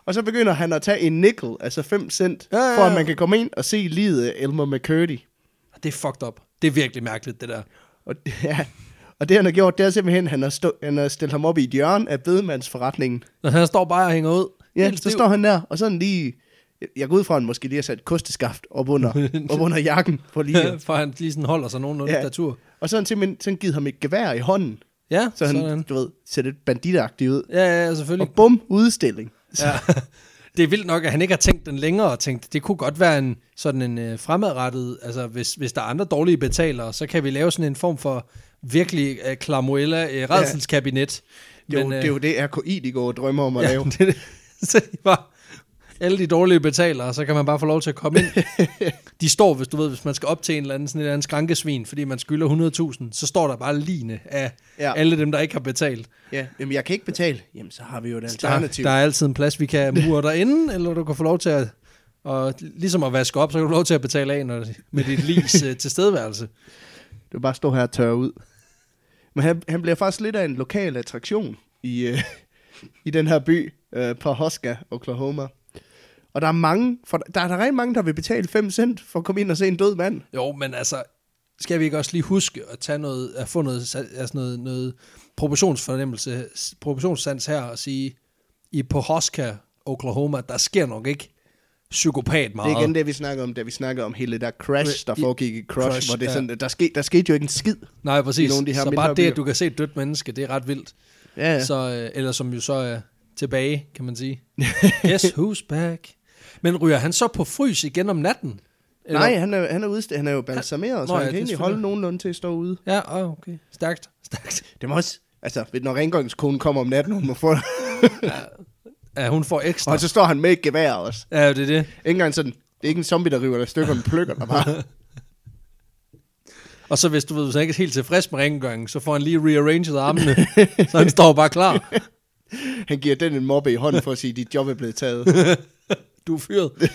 S2: Og så begynder han at tage en nickel, altså 5 cent,
S1: Ja,
S2: ja,
S1: ja, ja.
S2: ja. for at man kan komme ind og se livet af Elmer McCurdy.
S1: Det er fucked up. Det er virkelig mærkeligt, det der.
S2: Og, ja. og det han har gjort, det er simpelthen, han har, stå, han har stillet ham op i et hjørne af bedemandsforretningen.
S1: Når han står bare og hænger ud.
S2: Ja,
S1: Helt
S2: så
S1: stiv.
S2: står han der, og sådan lige... Jeg går ud fra, at han måske lige har sat et kosteskaft
S1: *laughs*
S2: op under, op under jakken på lige.
S1: For han lige sådan holder sig nogenlunde ja.
S2: Ja.
S1: statur.
S2: Og så har han simpelthen sådan givet ham et gevær i hånden,
S1: Ja,
S2: så han,
S1: sådan.
S2: du ved, ser lidt banditagtigt ud.
S1: Ja, ja,
S2: Og
S1: selvfølgelig.
S2: bum, udstilling.
S1: Ja. *laughs* Det er vildt nok, at han ikke har tænkt den længere og tænkt, det kunne godt være en sådan en øh, fremadrettet, altså hvis, hvis der er andre dårlige betalere, så kan vi lave sådan en form for virkelig øh, klamuella øh, redselskabinet.
S2: Det er, jo, det er jo det, RKI de går og drømmer om at
S1: øh, ja,
S2: lave.
S1: det, *laughs* er det. så de bare, alle de dårlige betalere, så kan man bare få lov til at komme
S2: *laughs*
S1: ind. De står, hvis du ved, hvis man skal op til en eller anden, sådan en eller anden skrankesvin, fordi man skylder 100.000, så står der bare line af ja.
S2: Ja.
S1: alle dem, der ikke har betalt.
S2: Ja, jamen jeg kan ikke betale. Jamen så har vi jo et
S1: Der,
S2: alternativ.
S1: der er altid en plads, vi kan
S2: *laughs*
S1: mure dig inde, eller du kan få lov til at, og ligesom at vaske op, så kan du få lov til at
S2: *laughs*
S1: betale af når, med dit lis øh, tilstedeværelse.
S2: Du kan bare stå her og tørre ud. Men han, han bliver faktisk lidt af en lokal attraktion i, øh, i den her by, øh, Pahoska, Oklahoma. Og der er mange, for der er der rigtig mange, der vil betale 5 cent for at komme ind og se en død mand.
S1: Jo, men altså, skal vi ikke også lige huske at tage noget, at få noget, altså noget, noget proportionsfornemmelse, proportionssans her og sige, i Pohoska, Oklahoma, der sker nok ikke psykopat
S2: Det
S1: meget.
S2: er igen det, vi snakker om, da vi snakker om hele det der crash, der
S1: I-
S2: foregik i Crush,
S1: Crush,
S2: crush hvor det er
S1: ja.
S2: sådan, der, skete, der skete jo ikke en skid.
S1: Nej, præcis.
S2: i nogle af de her
S1: så
S2: mindre
S1: bare det,
S2: byer.
S1: at du kan se et dødt menneske, det er ret vildt.
S2: Ja,
S1: Ja.
S2: Så,
S1: Så, øh, eller som jo så er tilbage, kan man
S2: *laughs*
S1: sige. Guess who's back? Men ryger han så på frys igen om natten? Eller?
S2: Nej, han er, han, er udst- han er jo balsameret, så
S1: Nå, ja, det er
S2: han kan egentlig
S1: selvfølgelig.
S2: holde nogenlunde til at stå ude.
S1: Ja, åh, okay. Stærkt, stærkt.
S2: Det må også... Altså, når rengøringskonen kommer om natten, hun må få...
S1: Ja, hun får ekstra.
S2: og så står han med et gevær også.
S1: Ja, det er det.
S2: Ikke engang sådan... Det er ikke en zombie, der river dig i stykker, men plukker
S1: *laughs*
S2: dig bare.
S1: Og så hvis du ved, hvis han ikke er helt tilfreds med rengøringen, så får han lige rearranget armene, *laughs* så han står bare klar.
S2: Han giver den en mobbe i hånden for at sige, at dit job er blevet
S1: *laughs*
S2: taget.
S1: Du er fyret.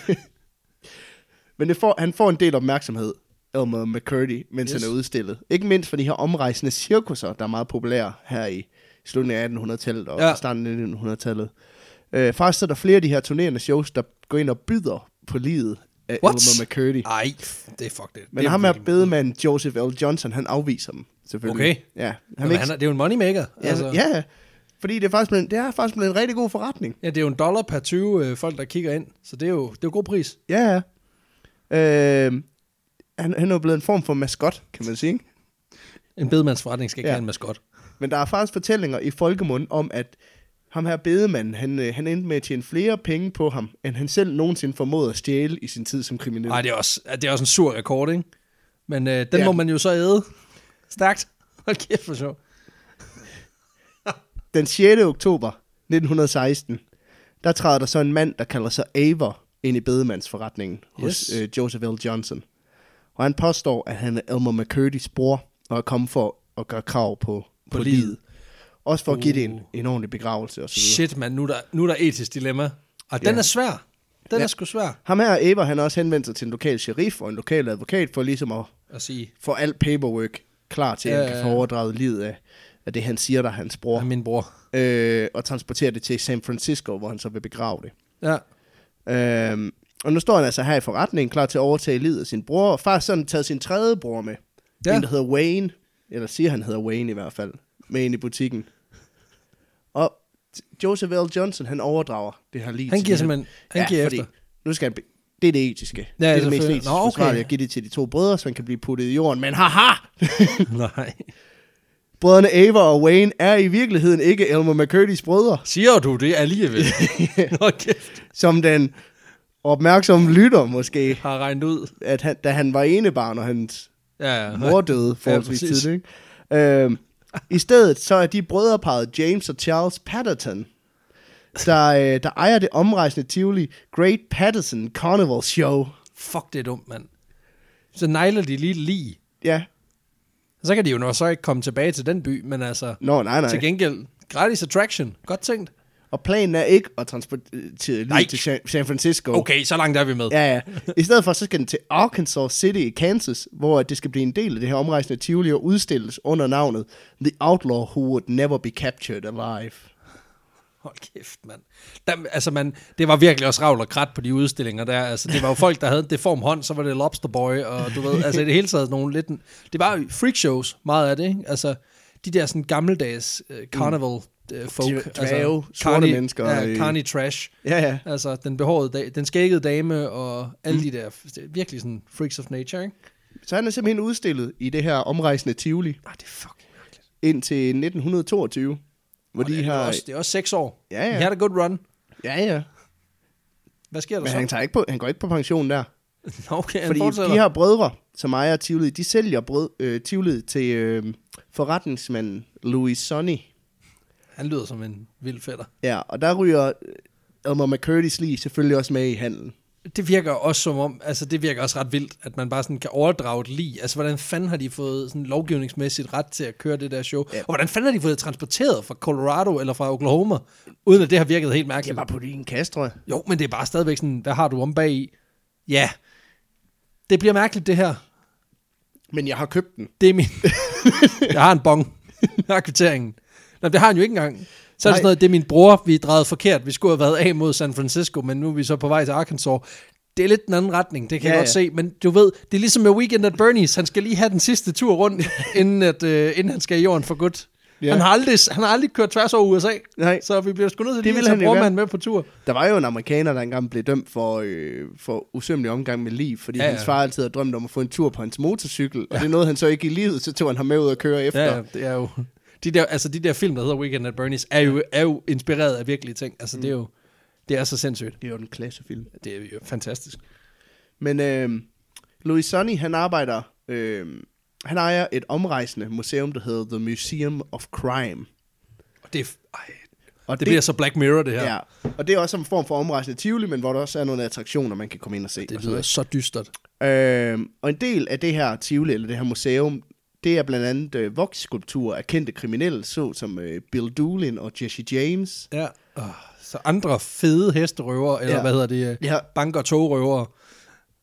S2: Men det får, han får en del opmærksomhed, Elmer McCurdy, mens yes.
S1: Yes.
S2: han er udstillet. Ikke mindst for de her omrejsende cirkusser, der er meget populære her i slutningen af 1800-tallet og
S1: Ja.
S2: ja. starten af 1900-tallet. Øh, faktisk så er der flere af de her turnerende shows, der går ind og byder på livet af
S1: What?
S2: Elmer McCurdy.
S1: Ej, det er fuck det.
S2: Men
S1: det er
S2: ham her
S1: virkelig-
S2: bedemand, Joseph L. Johnson, han afviser dem, selvfølgelig.
S1: Okay.
S2: Ja, han
S1: Jamen,
S2: vil ikke,
S1: han er, det er jo en moneymaker.
S2: altså,
S1: Altså,
S2: ja, fordi det er faktisk blevet, det er faktisk blevet en rigtig god forretning.
S1: ja, det er jo en dollar per 20 øh, folk, der kigger ind. Så det er jo det er jo god pris.
S2: Ja, ja. Øh, han, han er jo blevet en form for maskot, kan man sige. ikke?
S1: En bedemandsforretning skal ikke ja.
S2: Ja.
S1: have en maskot.
S2: Men der er faktisk fortællinger i folkemund om, at ham her bedemanden, han, øh, han endte med at tjene flere penge på ham, end han selv nogensinde formåede at stjæle i sin tid som kriminel.
S1: Nej, det er også, det er også en sur rekord, ikke? Men øh, den ja.
S2: Ja.
S1: må man jo så æde. Stærkt. Hold kæft for sjov.
S2: Den 6. oktober 1916, der træder der så en mand, der kalder sig Aver, ind i bedemandsforretningen hos
S1: Yes.
S2: yes. øh, Joseph L. Johnson. Og han påstår, at han er Elmer McCurdys bror, og er kommet for at gøre krav på, på,
S1: På
S2: på
S1: livet. Uh.
S2: livet. Også for at give det en, en ordentlig begravelse osv.
S1: Shit, mand. Nu er der, nu er der etisk dilemma. Og den
S2: Ja.
S1: er svær. Den ja.
S2: Ja.
S1: er sgu svær
S2: Ham her, Aver, han har også henvendt sig til en lokal sheriff og en lokal advokat for ligesom at
S1: at sige.
S2: får alt paperwork klar til, at
S1: Ja,
S2: han
S1: ja,
S2: kan
S1: ja.
S2: få overdraget livet af, af det, han siger, der er hans
S1: Ja,
S2: bror,
S1: min bror.
S2: øh, og transporterer det til San Francisco, hvor han så vil begrave det. *laughs*
S1: Ja.
S2: Øh, og nu står han altså her i forretningen, klar til at overtage livet af sin bror, og faktisk sådan taget sin tredje bror med.
S1: Ja.
S2: Ja. En, der hedder Wayne, eller siger, han hedder Wayne i hvert fald, med ind i butikken. Og Joseph L. Johnson, han overdrager det her lige
S1: Han
S2: til
S1: giver
S2: de her-
S1: simpelthen, han ja, giver efter.
S2: nu skal han be- det er det etiske.
S1: Ja,
S2: Ja, det er det mest
S1: selvfølgelig.
S2: etisk
S1: Nå, okay.
S2: okay. forsvarlige at give det til de to brødre, så han kan blive puttet i jorden. Men haha! *laughs*
S1: Nej.
S2: Brødrene Ava og Wayne er i virkeligheden ikke Elmer McCurdys brødre,
S1: Siger du det
S2: *laughs*
S1: alligevel? Nå kæft.
S2: som den opmærksomme lytter måske,
S1: Har regnet ud.
S2: at han, da han var enebarn, og hans
S1: Ja, *laughs* ja.
S2: mor døde forholdsvis
S1: præcis.
S2: tidligt. ikke? Øhm, I stedet så er de brødreparet James og Charles Patterson, der, øh, der ejer det omrejsende Tivoli Great Patterson Carnival Show.
S1: Fuck, det er dumt, mand. Så negler de lige lige.
S2: Ja,
S1: Så kan de jo nok så ikke komme tilbage til den by, men altså...
S2: nå nej nej.
S1: Til gengæld, gratis attraction. Godt tænkt.
S2: Og planen er ikke at transportere til,
S1: Nej.
S2: lige til San- San Francisco.
S1: Okay, så langt er vi med.
S2: Ja, ja. I stedet for, så skal den til Arkansas City i Kansas, hvor det skal blive en del af det her omrejsende Tivoli og udstilles under navnet The Outlaw Who Would Never Be Captured Alive.
S1: Hold kæft, mand. Der, altså, man, det var virkelig også ravl og krat på de udstillinger der. Altså, det var jo folk, der havde en deform hånd, så var det Lobster Boy, og du ved, altså i det hele taget nogle lidt... en- Det var jo freakshows, meget af det, ikke? Altså, de der sådan gammeldags uh, carnival uh, folk.
S2: Dra-
S1: altså,
S2: dværge, Mm. sorte mennesker
S1: Ja,
S2: i-
S1: carny trash.
S2: Ja, ja.
S1: Altså, den behårede, da- den skæggede dame, og
S2: Mm.
S1: alle de der, det er virkelig sådan freaks of nature, ikke?
S2: Så han er simpelthen udstillet i det her omrejsende Tivoli
S1: Ah, det er fucking mærkeligt. indtil
S2: indtil 1922. Hvor
S1: Og
S2: de
S1: det, er
S2: har...
S1: også, det er også seks år.
S2: Ja, ja.
S1: He had a good run.
S2: Ja, ja.
S1: Hvad sker der
S2: Men
S1: så?
S2: han, tager ikke på, han går ikke på pension der.
S1: *laughs* Nå, Okay, han
S2: Fordi
S1: fortsætter.
S2: de her brødre, som ejer Tivoli, de sælger brød, øh, Tivoli til øh, forretningsmanden Louis Sonny.
S1: Han lyder som en vild fætter.
S2: Ja, og der ryger øh, Elmer McCurdy's lige selvfølgelig også med i handelen.
S1: det virker også som om, altså det virker også ret vildt, at man bare sådan kan overdrage et lige. Altså hvordan fanden har de fået sådan lovgivningsmæssigt ret til at køre det der show? Ja.
S2: Ja.
S1: Og hvordan fanden har de fået det transporteret fra Colorado eller fra Oklahoma, uden at det har virket helt
S2: Det er
S1: mærkeligt?
S2: bare på din kasse, tror jeg.
S1: Jo, men det er bare stadigvæk sådan, hvad har du om bag i? Ja, det bliver mærkeligt det her.
S2: Men jeg har købt den.
S1: Det er min... *laughs* Jeg har en bong. har kvitteringen. Nå, det har han jo ikke engang. Så er det
S2: Nej.
S1: sådan noget, det er min bror, vi drejede forkert. Vi skulle have været af mod San Francisco, men nu er vi så på vej til Arkansas. Det er lidt den anden retning, det kan ja, jeg
S2: Ja,
S1: godt
S2: ja.
S1: se. Men du ved, det er ligesom med Weekend at Bernie's. Han skal lige have den sidste tur
S2: *laughs*
S1: rundt, inden, at, øh, inden han skal i jorden for godt.
S2: Ja.
S1: Ja. Han, har aldrig, han har aldrig kørt tværs over USA,
S2: Nej.
S1: så vi bliver sgu nødt til lige at
S2: ville
S1: tage
S2: han jo
S1: brormanden med på tur.
S2: Der var jo en amerikaner, der engang blev dømt for, øh, for usømmelig omgang med liv, fordi
S1: Ja,
S2: ja,
S1: ja.
S2: ja. hans far altid havde drømt om at få en tur på hans motorcykel, og det nåede han så ikke i livet, så tog han ham med ud og køre efter.
S1: Ja, ja, det er jo... De der, altså de der film, der hedder Weekend at Bernie's, er jo, er jo inspireret af virkelige ting. Altså mm. det er jo... Det er så sindssygt.
S2: Det er jo en klassefilm.
S1: Det er jo fantastisk.
S2: Men øh, Louis Sonny, han arbejder, øh, han ejer et omrejsende museum, der hedder The Museum of Crime.
S1: Og det, er- ej,
S2: Og
S1: det, det bliver så Black Mirror, det her.
S2: Ja. Og det er også en form for omrejsende Tivoli, men hvor der også er nogle attraktioner, man kan komme ind og se. og
S1: Det
S2: sådan
S1: lyder så dystert.
S2: Øhm, og en del af det her Tivoli, eller det her museum, det er blandt andet øh, voksskulpturer af kendte kriminelle, såsom øh, Bill Doolin og Jesse James.
S1: Ja. Oh, så andre fede hesterøvere, eller ja.
S2: Ja.
S1: hvad hedder det? Ja.
S2: Ja.
S1: Banker og togrøvere,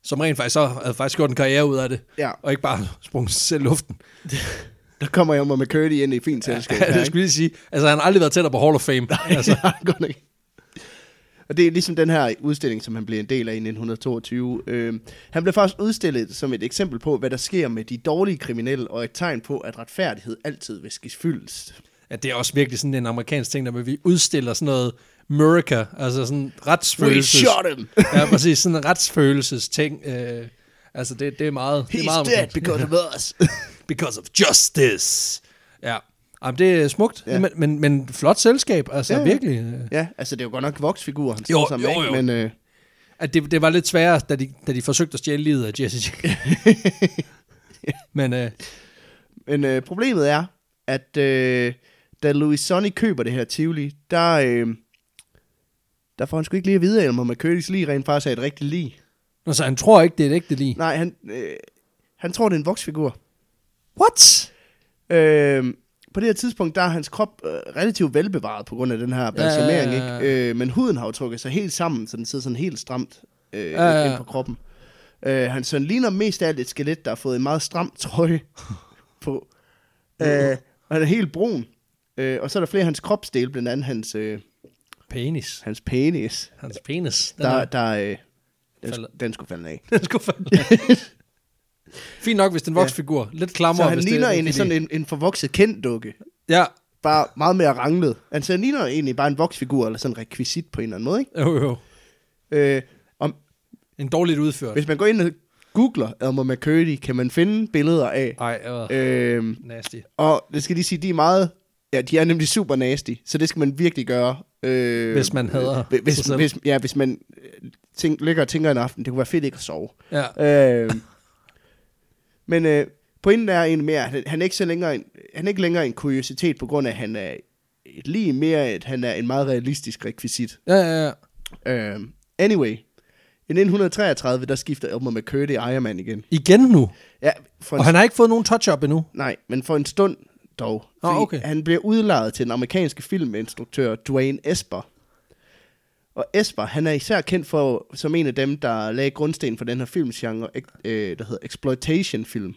S1: som rent faktisk så havde faktisk gjort en karriere ud af det.
S2: Ja.
S1: Og ikke bare *laughs* sprunget sig selv i luften.
S2: Der kommer jeg med Curdy ind i fint selskab.
S1: Ja, det skulle jeg lige sige. Altså, han har aldrig været tættere på Hall of Fame.
S2: altså. *laughs*
S1: altså,
S2: godt nok. Og det er ligesom den her udstilling, som han blev en del af i 1922. Øhm, han blev faktisk udstillet som et eksempel på, hvad der sker med de dårlige kriminelle, og et tegn på, at retfærdighed altid vil ske fyldest.
S1: ja, det er også virkelig sådan en amerikansk ting, der hvor vi udstiller sådan noget America, altså sådan
S2: We
S1: retsfølelses...
S2: shot him!
S1: ja, præcis. Sådan en retsfølelsesting. Øh, altså, det, det er meget... det er
S2: He's
S1: meget
S2: dead
S1: amerikansk.
S2: because of us!
S1: Because of justice. Ja. Jamen, det er smukt, ja.
S2: Ja.
S1: men, men, men flot selskab, altså ja,
S2: Ja,
S1: ja.
S2: ja.
S1: virkelig. øh.
S2: ja, altså det er jo godt nok voksfigurer, han
S1: Jo,
S2: står sammen
S1: jo,
S2: med,
S1: jo.
S2: ikke? men... Øh,
S1: At det, det var lidt sværere, da de, da de forsøgte at stjæle livet af
S2: *laughs*
S1: Jesse J. men øh,
S2: Men øh, problemet er, at øh, da Louis Sonny køber det her Tivoli, der, øh, der får han sgu ikke lige at vide, om McCurdy's lige rent faktisk er et rigtigt lige.
S1: altså, han tror ikke, det er et ægte lige.
S2: Nej, han, øh, han tror, det er en voksfigur.
S1: What?
S2: Øh, på det her tidspunkt, der er hans krop øh, relativt velbevaret på grund af den her balsamering,
S1: ja, ja, ja.
S2: ikke? Øh, men huden har jo trukket sig helt sammen, så den sidder sådan helt stramt øh,
S1: Ja, ja, ja.
S2: ind på kroppen. Øh, han sådan ligner mest af alt et skelet, der har fået en meget stram trøje *laughs* på. Øh, og han er helt brun. Øh, og så er der flere af hans kropsdele, blandt andet hans, øh,
S1: Penis.
S2: hans penis,
S1: Hans penis. Den, der,
S2: der, der øh, den,
S1: Falder.
S2: sk- den skulle falde af.
S1: *laughs* den skulle falde.
S2: *laughs*
S1: Fint nok, hvis det er en voksfigur. Lidt klammer,
S2: Så han
S1: hvis det
S2: ligner
S1: er et
S2: egentlig
S1: ægte
S2: sådan
S1: lige.
S2: en, en forvokset kendt dukke.
S1: Ja,
S2: Bare meget mere ranglet. Altså, han ligner egentlig bare en voksfigur, eller sådan en rekvisit på en eller anden måde, ikke?
S1: jo, jo.
S2: Øh, om,
S1: En dårligt udført.
S2: hvis man går ind og googler Elmer McCurdy, kan man finde billeder af.
S1: Ej, øh,
S2: Øh,
S1: nasty.
S2: og det skal lige sige, de er meget... Ja, de er nemlig super nasty, så det skal man virkelig gøre. Øh,
S1: Hvis man hader
S2: øh, hvis,
S1: sig selv.
S2: hvis, Ja, hvis man øh, tænk, ligger og tænker en aften, det kunne være fedt ikke at sove.
S1: Ja.
S2: Øh, men øh, pointen er egentlig mere, at han, han, er ikke så længere en, han er ikke længere en kuriositet, på grund af, at han er et lige mere, at han er en meget realistisk rekvisit.
S1: Ja, ja, ja.
S2: Øh, anyway, i 1933, der skifter Elmer McCurdy ejermand igen.
S1: Igen nu.
S2: Ja, for en,
S1: Og han har ikke fået nogen touch-up endnu.
S2: Nej, men for en stund dog.
S1: Nå,
S2: Fordi
S1: okay.
S2: Han bliver udlejet til den amerikanske filminstruktør Dwayne Esper. Og Esper, han er især kendt for, som en af dem, der lagde grundsten for den her filmgenre, ek- øh, der hedder exploitation-film.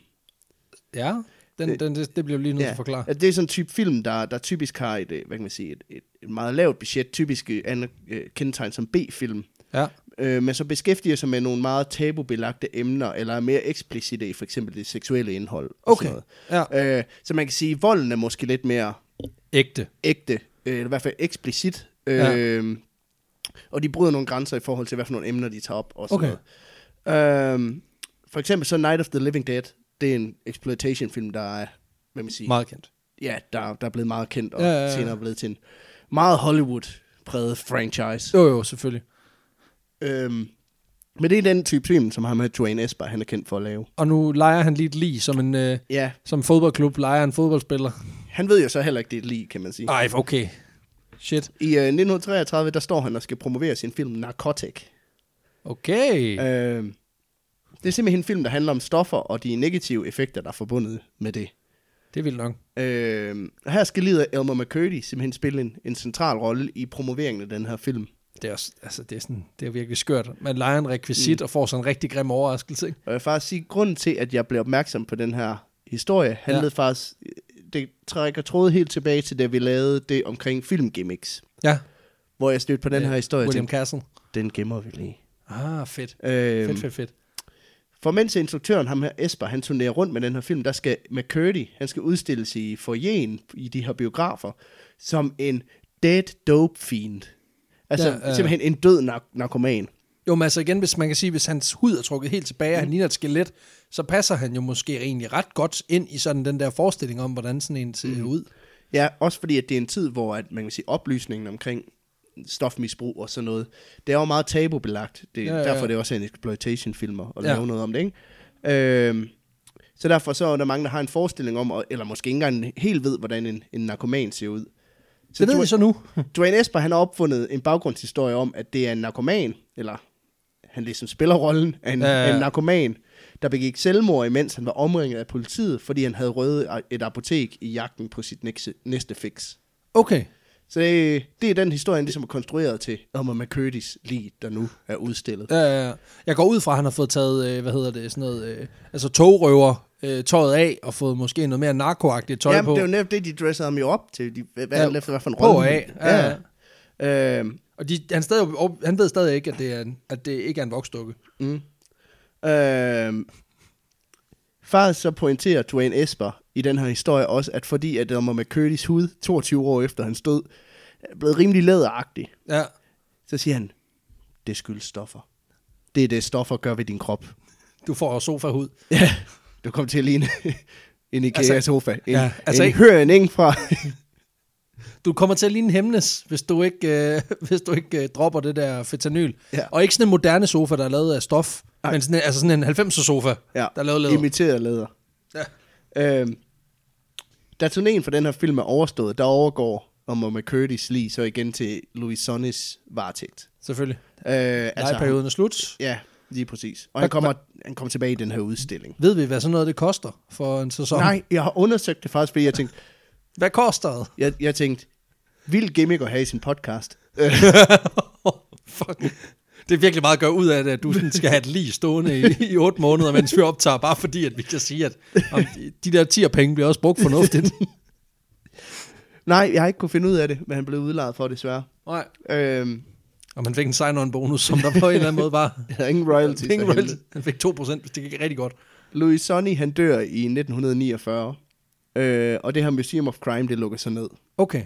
S1: Ja, den, den, det, det bliver vi lige nødt til at forklare.
S2: at det er sådan en type film, der, der typisk har et, øh, hvad kan man sige, et, et, et meget lavt budget, typisk øh, aner- øh, kendetegn som B-film.
S1: Ja.
S2: øh, men så beskæftiger sig med nogle meget tabubelagte emner, eller er mere eksplicite i for eksempel det seksuelle indhold. og
S1: Okay,
S2: sådan noget. Øh, så man kan sige, at volden er måske lidt mere
S1: Ægte.
S2: ægte, øh, eller i hvert fald eksplicit. Øh,
S1: Ja.
S2: Og de bryder nogle grænser i forhold til, hvad for nogle emner de tager op. Og sådan
S1: Okay.
S2: noget. Øh, for eksempel så Night of the Living Dead, det er en exploitation-film, der er, hvad man siger,
S1: Meget kendt.
S2: ja, der, der er blevet meget kendt, og
S1: Ja,
S2: ja,
S1: ja, ja.
S2: senere er blevet til en meget Hollywood-præget franchise.
S1: Jo, jo, selvfølgelig.
S2: Øhm, men det er den type film, som ham her Dwayne Esper, han er kendt for at lave.
S1: Og nu leger han lige et lige, som en øh,
S2: Ja,
S1: som en fodboldklub leger en fodboldspiller.
S2: han ved jo så heller ikke, det er lige, kan man sige.
S1: Nej, okay. Shit.
S2: I øh, 1933, der står han og skal promovere sin film Narcotic.
S1: Okay.
S2: Øhm, det er simpelthen en film, der handler om stoffer og de negative effekter, der er forbundet med det.
S1: Det er vildt nok.
S2: Øhm, og her skal lider Elmer McCurdy simpelthen spille en, en central rolle i promoveringen af den her film.
S1: Det er, også, altså, det er, sådan, det er virkelig skørt. Man leger en rekvisit mm. og får sådan en rigtig grim overraskelse. Ikke?
S2: Og jeg vil faktisk sige, grunden til, at jeg blev opmærksom på den her historie, handlede ja. faktisk øh, det trækker trådet helt tilbage til, da vi lavede det omkring filmgimmicks.
S1: Ja.
S2: Hvor jeg stødte på den her historie, og
S1: William
S2: tænkte,
S1: Castle.
S2: den gemmer vi lige.
S1: Ah, fedt.
S2: Øhm,
S1: Fedt, fedt, fedt.
S2: For mens instruktøren, ham her Esper, han turnerer rundt med den her film, der skal McCurdy, han skal udstilles i forjen i de her biografer, som en dead dope fiend. Altså
S1: Ja,
S2: ja,
S1: ja.
S2: øh. simpelthen en død nar- narkoman.
S1: Jo, men altså igen, hvis man kan sige, hvis hans hud er trukket helt tilbage,
S2: Mm.
S1: og han ligner et skelet, så passer han jo måske egentlig ret godt ind i sådan den der forestilling om, hvordan sådan en ser
S2: Mm.
S1: ud.
S2: Ja, også fordi at det er en tid, hvor at, man kan sige, oplysningen omkring stofmisbrug og sådan noget, det er jo meget tabubelagt. Det,
S1: Ja,
S2: ja,
S1: ja,
S2: ja.
S1: ja.
S2: Derfor er det også en exploitation-film at
S1: Ja.
S2: ja. lave noget om det, ikke? Øhm, så derfor så er der mange, der har en forestilling om, og- eller måske ikke engang helt ved, hvordan en, en narkoman ser ud.
S1: Så det ved
S2: du-
S1: vi så nu.
S2: Dwayne Esper, han har opfundet en baggrundshistorie om, at det er en narkoman, eller han ligesom spiller rollen af en,
S1: Ja, ja, ja.
S2: ja. en narkoman, der begik selvmord, imens han var omringet af politiet, fordi han havde røvet a- et apotek i jagten på sit næste, næste fix.
S1: Okay.
S2: Så det, det er den historie, han ligesom er konstrueret til Elmer McCurdy's lige der nu er udstillet.
S1: Øh, jeg går ud fra, at han har fået taget, øh, hvad hedder det, sådan noget, øh, altså togrøver øh, tøjet af, og fået måske noget mere narkoagtigt tøj
S2: Jamen,
S1: på.
S2: det er jo netop det, de dresser ham jo op til, de, hvad,
S1: Ja,
S2: ja, efter hvad for en
S1: på og
S2: rolle.
S1: af. Ja, ja.
S2: ja. Øhm,
S1: Og de, han, stadig, han ved stadig ikke, at det, er, en- at det ikke er en voksdukke.
S2: Mm. Øhm, faktisk så pointerer Dwayne Esper i den her historie også, at fordi at Elmer McCurdy's hud, 22 år efter han stod, er blevet rimelig læderagtig,
S1: Ja.
S2: så siger han, det skyldes stoffer. Det er det, stoffer gør ved din krop.
S1: Du får sofa-hud.
S2: Ja. Du kommer til at ligne *laughs* en
S1: Altså-
S2: IKEA-sofa. en,
S1: ja,
S2: ja,
S1: altså
S2: altså en
S1: ikke-
S2: høring fra...
S1: *laughs* Du kommer til at ligne Hemnes, hvis du ikke, øh, *laughs* hvis du ikke øh, dropper det der fentanyl.
S2: Ja.
S1: Og ikke sådan en moderne sofa, der er lavet af stof, Ej.
S2: Nej.
S1: men sådan, en- altså sådan en 90'er sofa,
S2: ja,
S1: der er lavet læder.
S2: Imiteret læder.
S1: Ja.
S2: Øhm, da turnéen for den her film er overstået, der overgår Elmer McCurdy's lige så igen til Louis Sonnes varetægt.
S1: Selvfølgelig.
S2: Øh, altså,
S1: Lejeperioden er slut.
S2: Ja, lige præcis. Og han kommer, han kommer tilbage i den her udstilling.
S1: Ved vi, hvad sådan noget det koster for en sæson?
S2: Nej, jeg har undersøgt det faktisk, fordi jeg tænkte,
S1: Hvad koster det?
S2: jeg, jeg tænkte vild gimmick at have i sin podcast.
S1: *laughs* Fuck. Det er virkelig meget at gøre ud af det, at du sådan skal have et lige stående i, i 8 måneder, mens vi optager, bare fordi, at vi kan sige, at om de- de der 10 penge bliver også brugt
S2: *laughs*
S1: fornuftigt.
S2: Nej, jeg har ikke kunne finde ud af det, men han blev udlejet for desværre.
S1: Nej.
S2: Øhm,
S1: Og man fik en sign-on bonus, som der på en eller anden måde
S2: *laughs*
S1: var.
S2: der er ingen royalties.
S1: Penge
S2: af helvede.
S1: royalty. Han fik 2%, hvis det gik rigtig godt.
S2: Louis Sonny, han dør i 1949. Øh, og det her Museum of Crime, det lukker sig ned.
S1: Okay.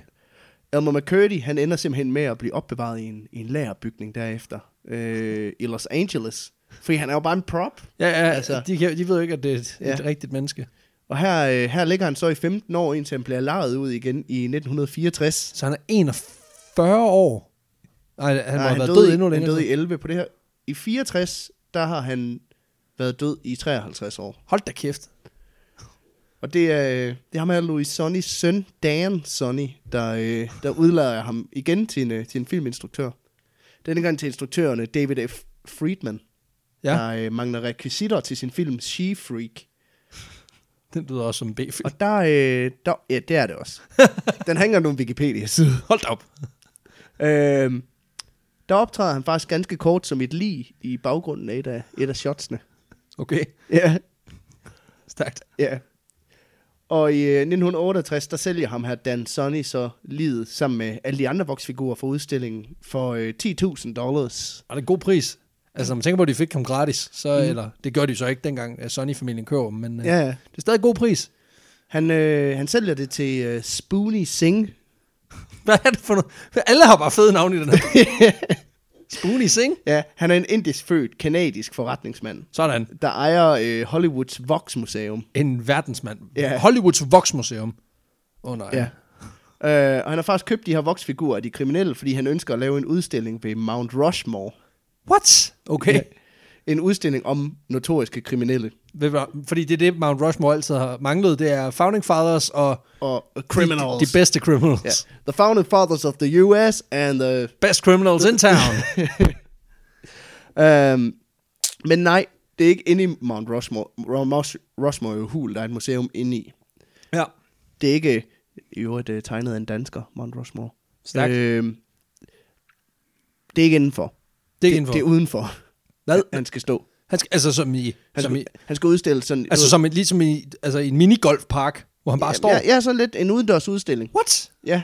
S2: Elmer McCurdy, han ender simpelthen med at blive opbevaret i en, i en lagerbygning derefter. Øh, I Los Angeles. Fordi han er jo bare en prop.
S1: Ja, ja altså,
S2: Altså-
S1: de, kan- de ved jo ikke, at det er et, ja.
S2: Ja.
S1: et rigtigt menneske.
S2: Og her, øh, her ligger han så i 15 år, indtil han bliver lejet ud igen i 1964.
S1: Så han er 41 år. Nej, han må
S2: Nej,
S1: have været død,
S2: i-
S1: endnu
S2: Han
S1: længere.
S2: døde i 11 på det her. I 64, der har han været død i 53 år.
S1: Hold da kæft.
S2: Og det er, øh, det er ham her, Louis Sonnys søn, Dan Sonny, der, øh, der udlejer ham igen til en, øh, til en filminstruktør. Denne gang til instruktørerne David F. Friedman,
S1: Ja,
S2: der øh, mangler rekvisitter til sin film She-Freak.
S1: den lyder også som en
S2: *laughs*
S1: B-film.
S2: Og der, øh, der, ja, det er det
S1: *laughs*
S2: også. Den hænger nu på Wikipedia-side.
S1: Hold da op.
S2: Øhm, der optræder han faktisk ganske kort som et lig i baggrunden af et af, et af shotsene.
S1: Okay,
S2: Ja,
S1: stærkt.
S2: ja. Og i øh, 1968, der sælger ham her Dan Sonny så livet sammen med alle de andre voksfigurer for udstillingen for øh, 10.000 dollars.
S1: Og det er en god pris. Altså, når man tænker på, at de fik ham gratis, så, mm. eller det gør de så ikke dengang, at Sonny-familien køber dem, men ja.
S2: Mhm. Ja, ja.
S1: det er stadig en god pris. *laughs*
S2: Han, øh, han sælger det til øh, Spoonie Singh.
S1: Hvad er det for noget? Alle har bare fede navne i den
S2: *laughs*
S1: her. Spoonie Singh?
S2: Ja, han er en indisk født kanadisk forretningsmand,
S1: Sådan.
S2: der ejer øh, Hollywoods Vox Museum.
S1: En verdensmand.
S2: Ja.
S1: Hollywoods Voksmuseum. Åh oh, nej.
S2: Ja. Øh, og han har faktisk købt de her voksfigurer af de kriminelle, fordi han ønsker at lave en udstilling ved Mount Rushmore.
S1: What? Okay. *laughs*
S2: Ja. En udstilling om notoriske kriminelle.
S1: Ja. Fordi det er det, Mount Rushmore altid har manglet. Det er Founding Fathers og
S2: Og og
S1: De, de bedste criminals.
S2: Ja. The founding fathers of the US and øh, the...
S1: Best criminals in
S2: *laughs*
S1: town.
S2: Um, men nej, det er ikke inde i Mount Rushmore, Rushmore, Rushmore hul, der er et museum inde i.
S1: ja.
S2: Det er ikke øh, i øvrigt øh, tegnet af en dansker, Mount Rushmore.
S1: Stærkt.
S2: Øhm, det er ikke indenfor.
S1: Det er ikke indenfor.
S2: Det, det er udenfor.
S1: Hvad?
S2: Han skal stå.
S1: Han skal, altså som i...
S2: Han,
S1: Som i
S2: skal, han skal udstille sådan...
S1: altså som i, ligesom i, altså, i en altså minigolfpark. hvor han bare står.
S2: Jeg, jeg er sådan lidt en udendørs udstilling.
S1: What?
S2: Ja.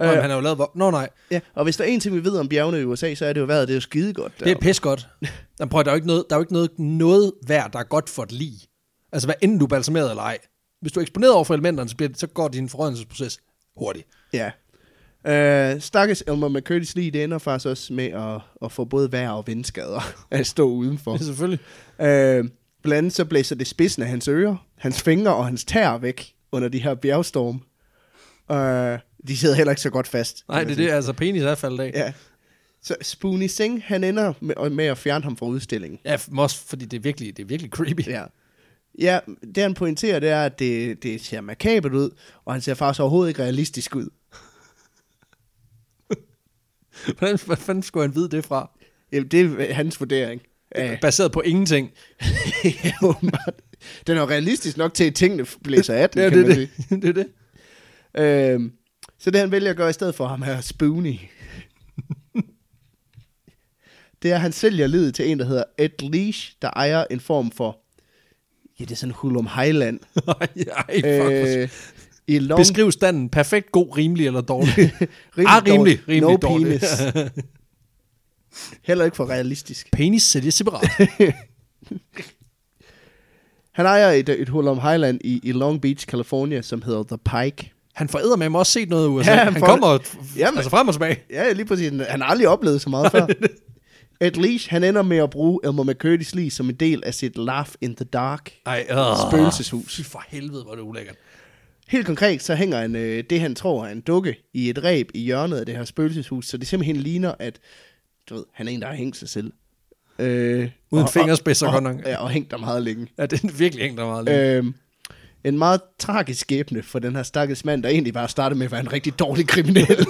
S1: Øh. Nå, men han har jo lavet... vo- Nå, nej.
S2: ja. Og hvis der er en ting, vi ved om bjergene i USA, så er det jo vejret. Det er jo skide godt.
S1: Det er pissegodt. Jamen, prøv, at- der er jo ikke noget, der er jo ikke noget, noget værd, der er godt for et lig. Altså, hvad enten du er balsameret eller ej. Hvis du er eksponeret over for elementerne, så, bliver det, så går din forrådnelsesproces
S2: *laughs*
S1: hurtigt.
S2: Ja. Øh, Stakkes Elmer McCurdy's lige, det ender faktisk også med at, at få både vejr og vindskader *laughs* at stå
S1: *laughs*
S2: udenfor.
S1: selvfølgelig.
S2: Øh, blandt andet så blæser det spidsen af hans ører, hans fingre og hans tær væk under de her bjergstorm. Øh, de sidder heller ikke så godt fast.
S1: Nej,
S2: kan
S1: det
S2: man
S1: er det, altså penis er faldet af.
S2: sige. Ja. Så Spoonie Singh, han ender med, med at fjerne ham fra udstillingen.
S1: Ja, f- men også fordi det er virkelig, det er virkelig creepy.
S2: Ja. Ja, det han pointerer, det er, at det, det ser makabert ud, og han ser faktisk overhovedet ikke realistisk ud.
S1: *laughs* Hvordan, hvordan fanden skulle han vide det fra?
S2: Jamen, det er hans vurdering. af-
S1: Baseret på ingenting.
S2: *laughs* ja, åbenbart. Den er jo realistisk nok til, at tingene blæser af
S1: *laughs*
S2: den,
S1: Ja,
S2: kan
S1: det,
S2: man
S1: er
S2: sige.
S1: det. det *laughs* er det.
S2: Øhm, så det, han vælger at gøre i stedet for ham
S1: *laughs*
S2: her, Spoonie, det er, at han sælger livet til en, der hedder Ed Leash, der ejer en form for, ja, det er sådan Hulum Highland.
S1: Ej, ej, fuck. Øh,
S2: I Long
S1: Beskriv standen. Perfekt, god, rimelig eller dårlig.
S2: *laughs* rimelig
S1: ah, rimelig,
S2: dårligt.
S1: rimelig
S2: no
S1: dårlig.
S2: penis.
S1: *laughs*
S2: Heller ikke for realistisk.
S1: Penis sælges *laughs* separat.
S2: Han ejer et, et Hulum Highland i, i Long Beach, California, som hedder The Pike.
S1: Han foræder med mig også set noget i USA.
S2: Ja,
S1: Ja,
S2: han
S1: han, han
S2: får-
S1: kommer
S2: Jamen.
S1: Jamen. altså frem og tilbage.
S2: Ja, lige præcis. Han har aldrig oplevet så
S1: *laughs*
S2: meget før. At Leash, han ender med at bruge Elmer McCurdy's lig som en del af sit Laugh in the Dark.
S1: Ej, øh.
S2: Spøgelseshus.
S1: Fy for helvede, hvor er det ulækkert.
S2: Helt konkret, så hænger han, øh, det, han tror er en dukke, i et ræb i hjørnet af det her spøgelseshus, så det simpelthen ligner, at du ved, han er en, der har hængt sig selv. Øh,
S1: Uden fingerspidser,
S2: og,
S1: godt nok.
S2: Ja, og hængt der meget længe.
S1: Ja, det er virkelig hængt der meget øh.
S2: Øh, en meget tragisk skæbne for den her stakkels mand, der egentlig bare startede med at være en rigtig
S1: *laughs*
S2: dårlig kriminel.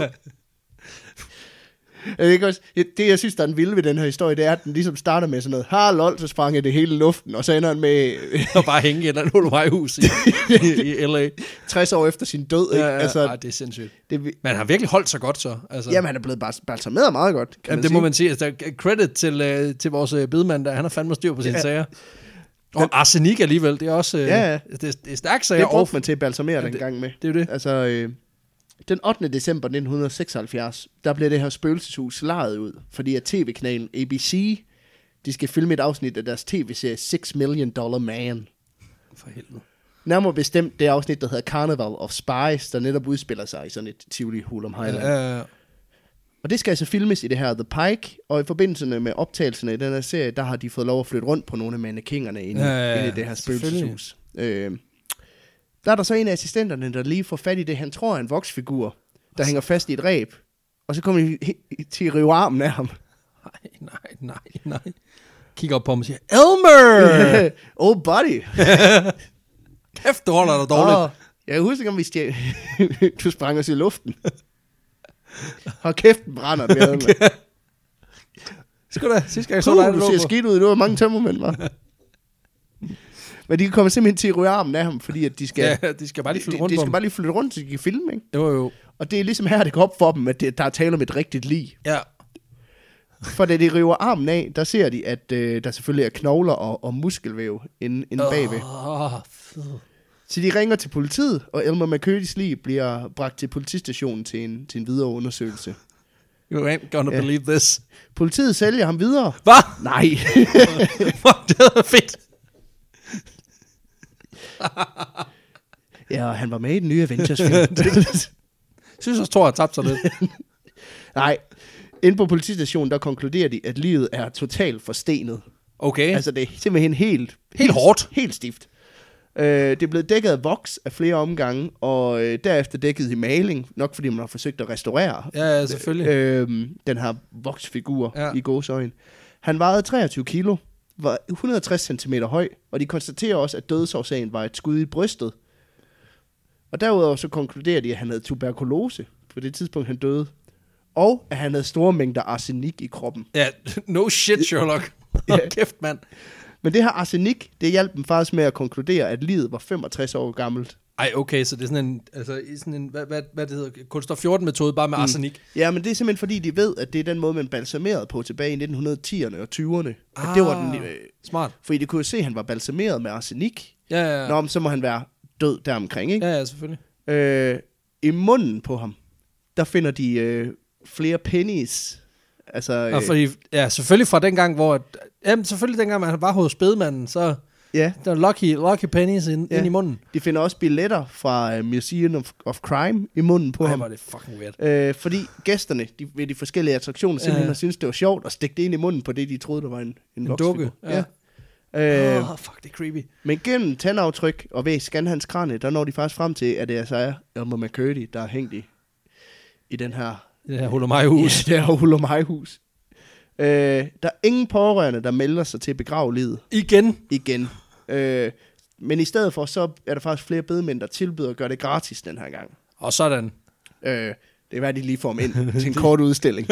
S2: Jeg ved ikke også, det, jeg synes, der er en vilde ved den her historie, det er, at den ligesom starter med sådan noget, har lol, så sprang jeg det hele i luften, og så ender han med *laughs* øh,
S1: Og bare hænge i et eller andet Olumaj-hus i, i, *laughs* i L.A.
S2: 60 år efter sin død. Ikke?
S1: Ja, ja, altså,
S2: altså,
S1: ej, det er sindssygt.
S2: det,
S1: Men han har virkelig holdt sig godt så. Altså.
S2: jamen, han er blevet bals- balsameret meget godt, kan
S1: Jamen,
S2: man
S1: det
S2: sige.
S1: må man sige. Altså, der er credit til, øh, til vores øh, bedemand, der han har fandme styr på sine
S2: Ja.
S1: ja. sager. Og arsenik alligevel, det er også øh,
S2: Ja, ja.
S1: ja, ja. Det, det er stærkt sager.
S2: Det
S1: og-
S2: brugte man til at balsamere den
S1: det-
S2: gang med.
S1: det er jo det.
S2: *laughs* Altså, øh, den 8. december 1976, der blev det her spøgelseshus lejet ud, fordi at tv-kanalen ABC, de skal filme et afsnit af deres tv-serie 6 Million Dollar Man.
S1: For helvede.
S2: Nærmere bestemt det afsnit, der hedder Carnival of Spies, der netop udspiller sig i sådan et Tivoli Hulum Highland. Ja, ja.
S1: Øh,
S2: Og det skal altså filmes i det her The Pike, og i forbindelse med optagelserne i den her serie, der har de fået lov at flytte rundt på nogle af mannekingerne inde, ja, ja, ja. inde i det her spøgelseshus. Øh, der er der så en af assistenterne, der lige får fat i det, han tror er en voksfigur, der hænger fast i et ræb. Og så kommer de he- til at rive armen af ham.
S1: nej, nej, nej, nej. Kigger op på ham og siger,
S2: *laughs*
S1: Elmer!
S2: oh, buddy.
S1: Kæft, du holder dig dårligt.
S2: Åh, jeg husker, om vi stjæl... *laughs* du sprang os i luften. Hold kæft, den brænder. Det *laughs* okay.
S1: Skal da, sidste gang jeg så dig,
S2: Puh,
S1: du
S2: du
S1: lå
S2: ser
S1: på-
S2: skidt ud. Det var mange tømmermænd, var. Men de kommer simpelthen til at ryge armen af ham, fordi at de skal...
S1: Ja, de skal bare lige flytte
S2: de,
S1: rundt
S2: de
S1: på
S2: skal
S1: ham.
S2: bare lige flytte rundt, så de kan filme, ikke?
S1: Jo, jo.
S2: Og det er ligesom her, det går op for dem, at det, der er tale om et rigtigt lig.
S1: Ja.
S2: For da de river armen af, der ser de, at øh, der selvfølgelig er knogler og, og muskelvæv inde, inde bagved.
S1: Åh, fed.
S2: Så de ringer til politiet, og Elmer McCurdy's lig bliver bragt til politistationen til en, til en videre undersøgelse.
S1: You ain't gonna
S2: Ja.
S1: believe this.
S2: Politiet sælger ham videre.
S1: Hvad?
S2: Nej.
S1: *laughs* Fuck, det er fedt.
S2: *laughs* ja, og han var med i den nye Avengers film.
S1: *laughs* Jeg synes også, Thor har tabt sig lidt.
S2: Nej. Inde på politistationen, der konkluderer de, at livet er totalt forstenet.
S1: Okay.
S2: Altså, det er simpelthen helt...
S1: Helt hårdt.
S2: Helt stift. Øh, det er blevet dækket af voks af flere omgange, og øh, derefter dækket i maling, nok fordi man har forsøgt at restaurere
S1: ja, ja, selvfølgelig.
S2: øh, den her voksfigur ja.
S1: Ja.
S2: i gåsøjen. Han vejede 23 kilo, var 160 cm høj, og de konstaterer også, at dødsårsagen var et skud i brystet. Og derudover så konkluderer de, at han havde tuberkulose på det tidspunkt, han døde. Og at han havde store mængder arsenik i kroppen.
S1: Ja, no shit, Sherlock.
S2: Ja.
S1: Yeah. Kæft, mand.
S2: Men det her arsenik, det hjalp dem faktisk med at konkludere, at livet var 65 år gammelt.
S1: Ej, okay, så det er sådan en, altså, i sådan en hvad, hvad, hvad det hedder, kunstner 14-metode, bare med mm. arsenik.
S2: Ja, men det er simpelthen fordi, de ved, at det er den måde, man balsamerede på tilbage i 1910'erne og 20'erne. Ah. At det var den... Øh,
S1: Smart.
S2: fordi de kunne jo se, at han var balsameret med arsenik.
S1: Ja, ja, ja.
S2: Nå, men så må han være død deromkring, ikke?
S1: Ja, ja, selvfølgelig.
S2: Øh, I munden på ham, der finder de øh, flere pennies. Altså, øh,
S1: Og fordi, ja, selvfølgelig fra dengang, hvor... at- Jamen, selvfølgelig dengang, man var hos bedemanden, så
S2: ja,
S1: der var lucky, lucky pennies ind, ja.
S2: Ja.
S1: ind i munden.
S2: de finder også billetter fra øh, Museum of, of Crime i munden på
S1: Ej,
S2: ham.
S1: hvor er det fucking weird.
S2: Øh, fordi gæsterne de, ved de forskellige attraktioner simpelthen
S1: Ja.
S2: ja. har syntes, det var sjovt at stikke det ind i munden på det, de troede, der var en, en,
S1: En
S2: voksfigur.
S1: dukke, ja.
S2: Ja. Ja. Øh,
S1: Åh, oh, fuck, det er creepy.
S2: men gennem tandaftryk og ved Scanhans kranie, der når de faktisk frem til, at det altså er Elmer McCurdy, der er hængt i, i den her
S1: Det her huller mig hus.
S2: hus, det her Holomaj-hus. Øh, der er ingen pårørende, der melder sig til at begrave livet
S1: Igen.
S2: igen. Øh, men i stedet for, så er der faktisk flere bedemænd, der tilbyder at gøre det gratis den her gang.
S1: Og sådan.
S2: Øh, det er værd, at de lige får dem ind til en kort udstilling.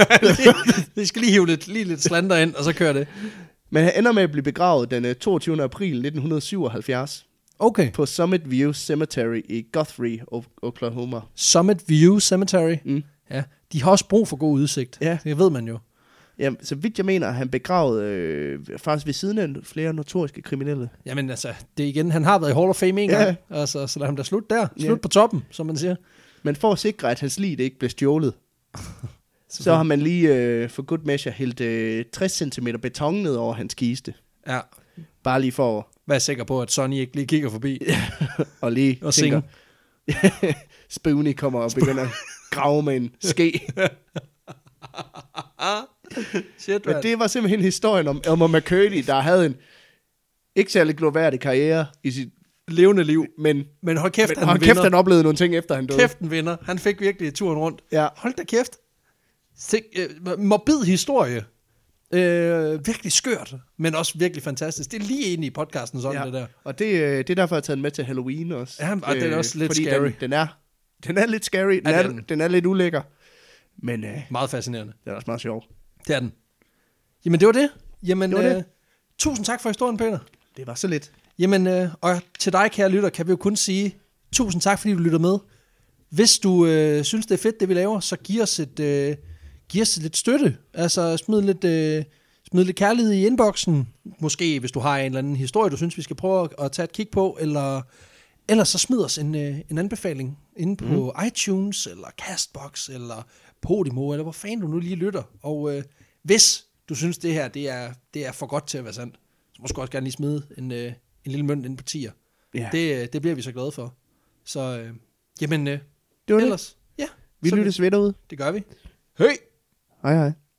S1: Vi skal lige hive lidt, lige lidt slander ind, og så kører det.
S2: Men han ender med at blive begravet den øh, 22. april 1977
S1: Okay.
S2: på Summit View Cemetery i Guthrie, O- Oklahoma.
S1: Summit View Cemetery.
S2: Mm.
S1: Ja, de har også brug for god udsigt.
S2: Ja.
S1: Det ved man jo.
S2: Ja, så vidt jeg mener, er han begravet øh, faktisk ved siden af flere notoriske kriminelle.
S1: Jamen altså, det er igen, han har været i Hall of Fame en
S2: Ja.
S1: gang, altså, så lad ham da slut der. Slut
S2: Ja.
S1: på toppen, som man siger.
S2: Men for at sikre, at hans lig ikke blev stjålet, så har man lige øh, for good measure hældt øh, 60 cm beton ned over hans kiste.
S1: Ja,
S2: Bare lige for at-
S1: vær sikker på, at Sonny ikke lige kigger forbi.
S2: at lige
S1: Og
S2: tænker, *laughs* Spoonie kommer og begynder at grave med en
S1: *laughs*
S2: ske.
S1: Shit,
S2: Men det var simpelthen historien om Elmer McCurdy, der havde en ikke særlig gloværdig karriere i sit
S1: levende liv.
S2: men
S1: Men hold kæft,
S2: men
S1: han
S2: han
S1: vinder.
S2: kæft, han oplevede nogle ting, efter han døde.
S1: Kæft, den vinder. Han fik virkelig turen rundt.
S2: Ja.
S1: Hold da kæft. Sik, øh, morbid historie. Øh, virkelig skørt, men også virkelig fantastisk. Det er lige inde i podcasten sådan, ja. det der.
S2: Og det, øh, det er derfor, jeg har taget den med til Halloween også. Øh,
S1: Ja, og den er også lidt
S2: fordi
S1: scary.
S2: Den, den, er, den er lidt scary, den,
S1: Ja, det
S2: er,
S1: er den.
S2: den. den er lidt ulækker, men øh,
S1: Meget fascinerende.
S2: den er også meget sjov.
S1: Det er den. Jamen, det var det. Jamen,
S2: Det var det.
S1: Øh, tusind tak for historien, Peter.
S2: Det var så lidt.
S1: Jamen, øh, og til dig, kære lytter, kan vi jo kun sige tusind tak, fordi du lytter med. Hvis du øh, synes, det er fedt, det vi laver, så giv os, et, øh, giv os lidt støtte. Altså, smid lidt, øh, smid lidt kærlighed i inboxen. Måske, hvis du har en eller anden historie, du synes, vi skal prøve at, at tage et kig på, eller, eller så smid os en, øh, en anbefaling inde på
S2: Mhm.
S1: mm. iTunes, eller Castbox, eller Podimo, eller hvor fanden du nu lige lytter. Og øh, hvis du synes, det her det er, det er for godt til at være sandt, så måske også gerne lige smide en, øh, en lille mønt ind på tier.
S2: Ja.
S1: Det, øh, det bliver vi så glade for. Så øh, jamen, øh,
S2: Det var det.
S1: ellers, ja.
S2: Vi
S1: så-
S2: lyttes ved derude.
S1: Det gør vi. Hej!
S2: Hej hej.